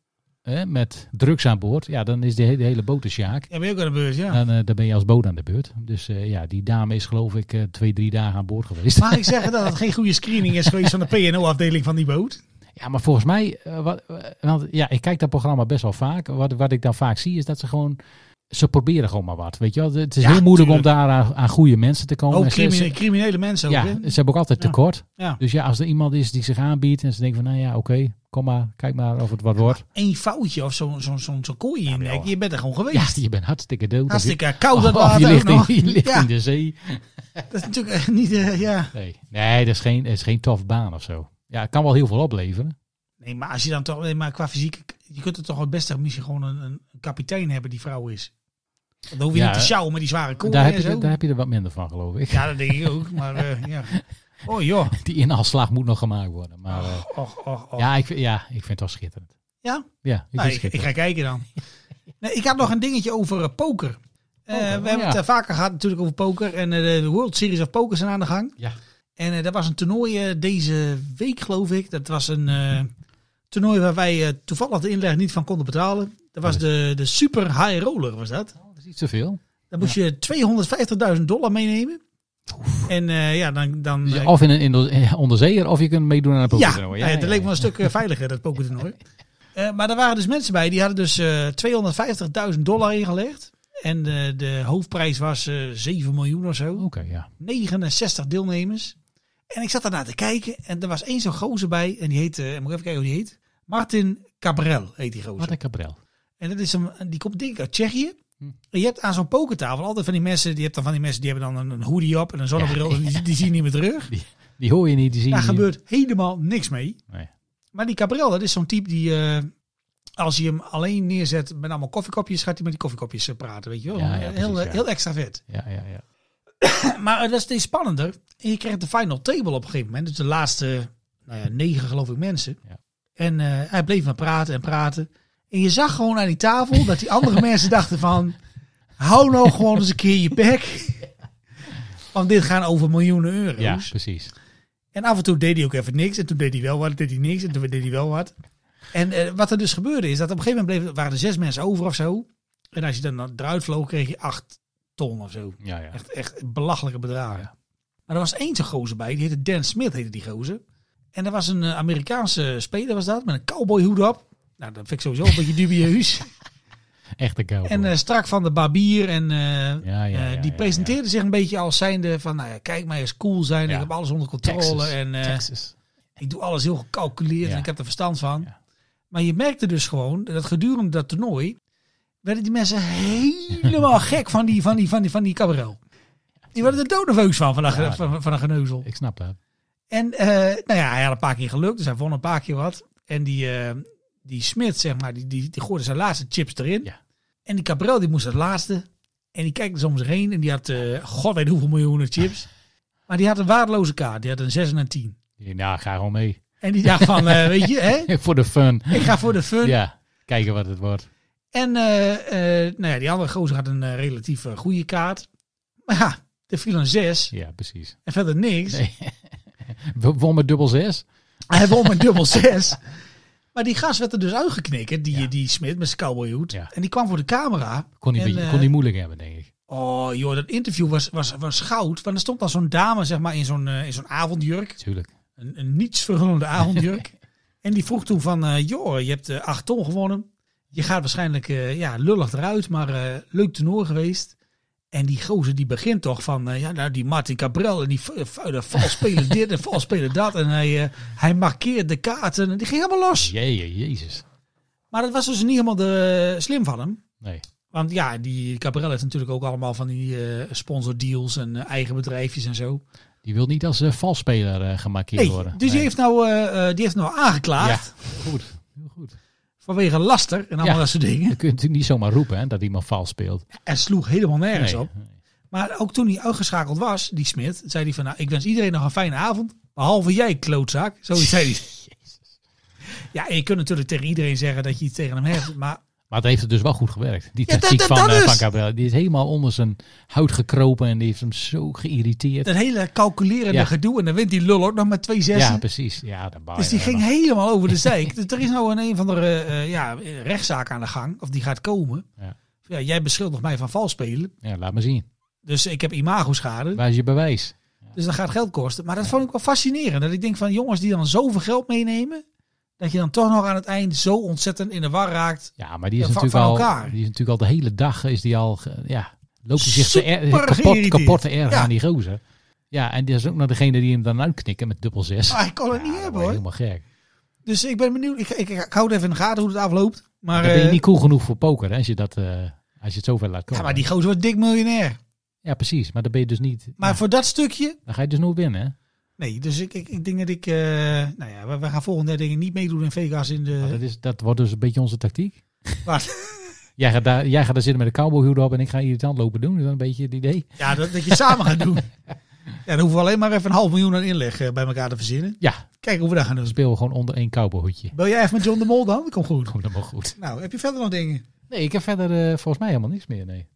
A: eh, met drugs aan boord, ja, dan is de hele, de hele boot een sjaak.
B: Ja, ben je ook aan de beurt, ja.
A: En eh, dan ben je als boot aan de beurt. Dus eh, ja, die dame is geloof ik eh, twee, drie dagen aan boord geweest.
B: Mag ik zeggen dat het geen goede screening is geweest van de PNO-afdeling van die boot?
A: Ja, maar volgens mij, eh, wat, eh, want ja, ik kijk dat programma best wel vaak. Wat, wat ik dan vaak zie is dat ze gewoon, ze proberen gewoon maar wat. Weet je wel, het is
B: Ja,
A: heel moeilijk om
B: tuurlijk.
A: daar aan, aan goede mensen te komen.
B: Ook
A: En ze-
B: crimine-
A: ze-
B: criminele mensen ook,
A: ja, dus-
B: hè?
A: ze hebben ook altijd
B: Ja.
A: tekort.
B: Ja.
A: Dus ja, als er iemand is die zich aanbiedt en ze denken van, nou ja, oké, kom maar, kijk maar of het wat wordt.
B: Eén foutje of zo'n zo, zo, zo kooi in je nek, je bent er gewoon
A: Ja,
B: geweest.
A: je bent hartstikke dood.
B: Hartstikke
A: Of
B: koud
A: Oh, je-
B: dat
A: of
B: water
A: je
B: ook
A: ligt,
B: nog.
A: in, je ligt
B: ja,
A: in de zee.
B: dat is natuurlijk eh, niet, eh, ja.
A: Nee, nee dat is geen, dat is geen tof baan of zo. Ja, het kan wel heel veel opleveren.
B: Nee, maar als je dan toch, nee, maar qua fysiek, je kunt er toch het beste misschien gewoon een, een kapitein hebben die vrouw is. Want Dan hoef je
A: Ja,
B: niet te sjouwen met die zware kooi
A: Daar heb,
B: en
A: je,
B: zo.
A: daar heb je er wat minder van, geloof ik.
B: Ja, dat denk ik ook, maar eh, ja. Oh joh,
A: Die inhaalslag moet nog gemaakt worden.
B: Oh.
A: Maar, eh,
B: och, och, och.
A: Ja, ik, vind- ja, ik vind het wel schitterend.
B: Ja?
A: Ja, ik
B: Nou,
A: vind het
B: ik, ik
A: schitterend.
B: ga kijken dan. Nee, ik had nog een dingetje over eh, poker. Eh,
A: Poker,
B: we
A: oh,
B: hebben
A: ja.
B: het eh, vaker gehad natuurlijk over poker. En eh, de World Series of Poker zijn aan de gang.
A: Ja.
B: En eh, er was een toernooi eh, deze week, geloof ik. Dat was een eh, toernooi waar wij eh, toevallig de inleg niet van konden betalen. Dat was de, de Super High Roller, was dat.
A: Dat is niet zoveel.
B: Dan moest je 250.000 dollar meenemen. En eh, ja, dan... dan
A: Dus
B: eh,
A: of in een indo- eh, onderzeeër, of je kunt meedoen aan een
B: ja,
A: pokertoernooi.
B: nou ja, dat leek me een stuk eh, veiliger, dat pokertoernooi. Eh maar er waren dus mensen bij, die hadden dus eh 250.000 dollar ingelegd. En eh, de hoofdprijs was eh 7 miljoen of
A: Oké,
B: zo.
A: ja.
B: 69 deelnemers. En ik zat daarna te kijken en er was één zo'n gozer bij. En die heet, eh, moet ik even kijken hoe die heet. Martin Cabrel heet die gozer.
A: Wat een cabrel.
B: En dat is een, die komt denk ik uit Tsjechië.
A: Hm.
B: En je hebt aan zo'n pokertafel altijd van die mensen, die hebt dan van die mensen die hebben dan een, een hoodie op en een zonnebril, die, die zien niet meer terug.
A: Die hoor je niet, die zie je
B: Daar
A: niet.
B: gebeurt helemaal niks mee.
A: Nee.
B: Maar die Cabrel, dat is zo'n type die, eh, als je hem alleen neerzet met allemaal koffiekopjes, gaat hij met die koffiekopjes eh, praten, weet je wel.
A: Ja, ja,
B: heel,
A: precies, ja.
B: heel extra vet.
A: Ja, ja, ja.
B: Maar eh, dat is steeds spannender. En je krijgt de final table op een gegeven moment. Dus de laatste nou ja, negen, geloof ik, mensen.
A: Ja.
B: En eh, hij bleef maar praten en praten. En je zag gewoon aan die tafel dat die andere mensen dachten van... Hou nou gewoon eens een keer je bek. Want dit gaan over miljoenen euro's.
A: Ja, precies.
B: En af en toe deed hij ook even niks. En toen deed hij wel wat, deed hij niks. En toen deed hij wel wat. En eh, wat er dus gebeurde is dat op een gegeven moment bleef, waren er zes mensen over of zo. En als je dan eruit vloog, kreeg je acht ton of zo.
A: Ja, ja.
B: Echt, echt belachelijke bedragen. Maar er was één zo'n gozer bij, die heette Dan Smith, heette die gozer. En er was een eh, Amerikaanse speler, was dat, met een cowboyhoed op. Nou, dat vind ik sowieso een beetje dubieus.
A: Echt een cowboy.
B: En eh, strak van de barbier. En eh,
A: ja, ja,
B: eh,
A: ja,
B: die
A: ja.
B: presenteerde zich een beetje als zijnde van, nou ja, kijk mij eens cool zijn.
A: Ja.
B: Ik heb alles onder controle.
A: Texas.
B: En eh,
A: Texas.
B: ik doe alles heel gecalculeerd
A: Ja.
B: en ik heb er verstand van.
A: Ja.
B: Maar je merkte dus gewoon dat gedurende dat toernooi werden die mensen helemaal gek van die, van die, van die, van die cabarel. Die werden er doodnerveus van, van, dat ge-
A: Ja,
B: van, van, van een geneuzel.
A: Ik snap dat.
B: En eh, nou ja, hij had een paar keer geluk, dus hij won een paar keer wat. En die, eh, die Smit, zeg maar, die, die, die gooide zijn laatste chips erin.
A: Ja.
B: En die Cabrel, die moest het laatste. En die kijkt soms heen en die had, eh, god weet hoeveel miljoenen chips. Maar die had een waardeloze kaart, die had een 6 en een 10.
A: Ik denk, nou, ga gewoon mee.
B: En die dacht van, eh, weet je, hè,
A: Voor de fun.
B: ik ga voor de fun.
A: Ja, kijken wat het wordt.
B: En eh, eh, nou ja, die andere gozer had een eh, relatief eh, goede kaart. Maar ja, er viel een 6
A: Ja, precies.
B: en verder niks.
A: Nee. We won met dubbel zes.
B: Hij won met dubbel 6. Maar die gas werd er dus uitgeknikkerd, die, die Smit met zijn cowboyhoed.
A: Ja.
B: En die kwam voor de camera.
A: Kon
B: En,
A: hij,
B: eh,
A: kon hij moeilijk hebben, denk ik.
B: Oh joh, dat interview was, was, was goud. Want er stond dan zo'n dame zeg maar, in zo'n eh, in zo'n avondjurk.
A: Tuurlijk.
B: Een, een nietsverhullende avondjurk. en die vroeg toen van, eh, joh, je hebt eh, acht ton gewonnen. Je gaat waarschijnlijk eh, ja, lullig eruit, maar eh, leuk toernooi geweest. En die gozer die begint toch van, eh, ja, nou, die Martin Cabrel en die eh, vu- vuile valspeler dit en valspeler dat. En hij, eh, hij markeert de kaarten en die ging helemaal los.
A: Jee, jezus.
B: Maar dat was dus niet helemaal de, slim van hem.
A: Nee.
B: Want ja, die Cabrel heeft natuurlijk ook allemaal van die eh, sponsordeals en eh, eigen bedrijfjes en zo.
A: Die wil niet als eh, valsspeler eh, gemarkeerd
B: Nee,
A: worden.
B: dus Die, heeft nou, eh, eh, die heeft nou aangeklaagd
A: Ja, goed. Heel goed.
B: vanwege laster en allemaal
A: Ja.
B: dat soort dingen.
A: Dan kun je natuurlijk niet zomaar roepen hè, dat iemand vals speelt.
B: En sloeg helemaal nergens
A: Nee.
B: op. Maar ook toen hij uitgeschakeld was, die Smit, zei hij van... Nou, ik wens iedereen nog een fijne avond, behalve jij, klootzak. Zoiets zei hij. Ja, en je kunt natuurlijk tegen iedereen zeggen dat je iets tegen hem hebt, maar...
A: Maar het heeft het dus wel goed gewerkt. Die
B: Ja, dat-
A: tactiek
B: dat-
A: van,
B: dat
A: eh,
B: dus.
A: van Gabriel. Die is helemaal onder zijn hout gekropen en die heeft hem zo geïrriteerd.
B: Dat hele calculerende
A: Ja.
B: gedoe en dan wint die lul ook nog met twee zessen.
A: ja, precies. Ja, dan baal je
B: Dus die
A: er
B: ging
A: nog.
B: helemaal over de zeik. Dus er is nou een een van de ja, rechtszaak aan de gang. Of die gaat komen.
A: Ja.
B: Ja, jij beschuldigt mij van vals spelen.
A: Ja, laat maar zien.
B: Dus ik heb imago-schade.
A: Waar is je bewijs?
B: Dus dat gaat geld kosten. Maar dat vond ik wel fascinerend. Dat ik denk van jongens die dan zoveel geld meenemen. Dat je dan toch nog aan het eind zo ontzettend in de war raakt.
A: Ja, maar die is,
B: Ja, van-
A: natuurlijk,
B: van
A: al,
B: elkaar.
A: die is natuurlijk al de hele dag is die al, ge- ja, loopt hij zich te er,
B: Super
A: kapot,
B: geïrriteerd.
A: kapot te erg
B: Ja.
A: aan die gozer. Ja, en die is ook nog degene die hem dan uitknikken met dubbel zes.
B: Ah, ik kon het
A: Ja,
B: niet
A: dan
B: hebben
A: word je
B: hoor.
A: helemaal gek.
B: Dus ik ben benieuwd. Ik, ik, ik hou het even in de gaten hoe het afloopt. Maar,
A: dan ben je
B: eh,
A: niet cool genoeg voor poker hè, als je, dat, eh, als je het zover laat komen.
B: ja, maar die gozer wordt dik miljonair.
A: Ja, precies. Maar dan ben je dus niet...
B: Maar
A: ja,
B: voor dat stukje
A: dan ga je dus nooit winnen. Hè?
B: Nee, dus ik, ik, ik denk dat ik... eh, nou ja, we, we gaan volgende dingen niet meedoen in Vegas in
A: Maar dat,
B: de...
A: is, dat wordt dus een beetje onze tactiek.
B: Wat?
A: Jij gaat daar, jij gaat daar zitten met een cowboyhoed op en ik ga irritant lopen doen. Is dat een beetje het idee?
B: Ja, dat, dat je het samen gaat doen. Ja, dan hoeven we alleen maar even een half miljoen aan inleg eh, bij elkaar te verzinnen.
A: Ja,
B: Kijken hoe we dat gaan
A: dan
B: doen.
A: speel we gewoon onder één cowboyhoedje.
B: Bel jij even met John de Mol dan? Dat komt goed.
A: Komt helemaal goed.
B: Nou, heb je verder nog dingen?
A: Nee, ik heb verder eh, volgens mij helemaal niks meer. Nee.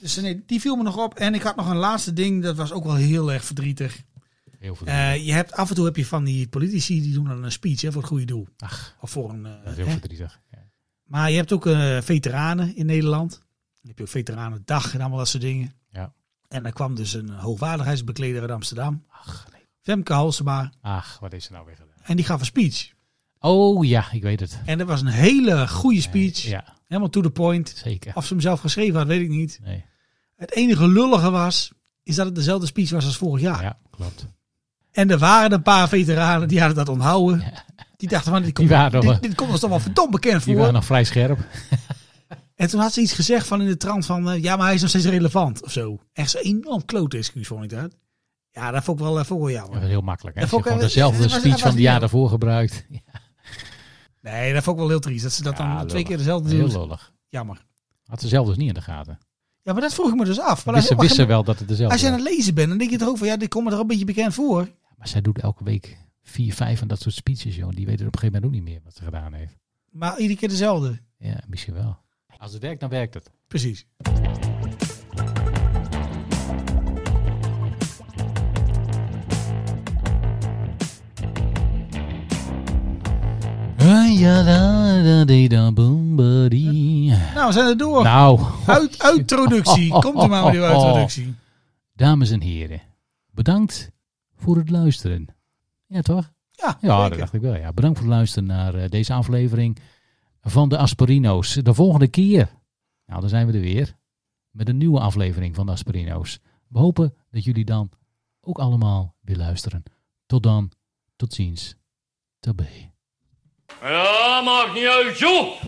B: Dus nee, die viel me nog op. En ik had nog een laatste ding. Dat was ook wel heel erg verdrietig.
A: Heel veel.
B: Eh, je hebt, af en toe heb je van die politici die doen dan een speech hè, voor het goede doel.
A: Ach,
B: Of voor een...
A: dat
B: eh,
A: is heel
B: hè.
A: verdrietig. Ja.
B: Maar je hebt ook eh, veteranen in Nederland. Dan heb je ook veteranendag en allemaal dat soort dingen.
A: Ja.
B: En er kwam dus een hoogwaardigheidsbekleder uit Amsterdam.
A: Ach, nee.
B: Femke Halsema.
A: Ach, wat is er nou weer gedaan?
B: En die gaf een speech.
A: Oh ja, ik weet het.
B: En dat was een hele goede speech. Oh.
A: Ja,
B: Helemaal to the point.
A: zeker.
B: Of ze hem zelf geschreven had, weet ik niet.
A: Nee.
B: Het enige lullige was, is dat het dezelfde speech was als vorig jaar.
A: Ja, klopt.
B: En er waren een paar veteranen die hadden dat onthouden. Die dachten van, dit komt,
A: waren nog-
B: dit, dit komt ons toch wel verdomd bekend
A: Die
B: voor.
A: waren nog vrij scherp.
B: En toen had ze iets gezegd van in de trant van, eh, ja, maar hij is nog steeds relevant of zo. Echt zo'n enorm klote excuus vond ik dat. Ja, dat vond ik wel, eh, vond ik wel
A: Dat
B: jammer.
A: was heel makkelijk. Hè?
B: Dat
A: Als je
B: vond ik-
A: gewoon dezelfde
B: dat was-
A: speech
B: dat
A: van
B: was
A: het
B: niet
A: jaar
B: heel-
A: daarvoor gebruikt. Ja,
B: Nee, dat vond ik wel heel triest. Dat ze dat dan twee
A: lullig.
B: keer dezelfde
A: Heel
B: doen.
A: lullig.
B: Jammer.
A: Had ze zelf dus niet in de gaten.
B: Ja, Hm. maar dat vroeg ik me dus af. Maar dat is
A: Wisten,
B: helemaal
A: wisten wel dat het
B: geen-
A: dezelfde
B: als je aan
A: was.
B: het lezen bent, dan denk je toch ook van, ja, dit komt me er een beetje bekend voor.
A: Maar zij doet elke week vier, vijf van dat soort speeches, joh. Die weten op een gegeven moment ook niet meer wat ze gedaan heeft.
B: Maar iedere keer dezelfde.
A: Ja, misschien wel. Als het werkt, dan werkt het.
B: Precies. Nou, we zijn er door.
A: Nou,
B: Uit, uittroductie. Komt er maar met uw uittroductie.
A: dames en heren, bedankt voor het luisteren. Ja, toch?
B: Ja,
A: Ja, dat
B: zeker.
A: dacht ik wel. Ja. Bedankt voor het luisteren naar eh, deze aflevering van de Asperino's. De volgende keer, nou dan zijn we er weer, met een nieuwe aflevering van de Asperino's. We hopen dat jullie dan ook allemaal weer luisteren. Tot dan, tot ziens. Tabé.
D: Ja, maakt niet uit, joh!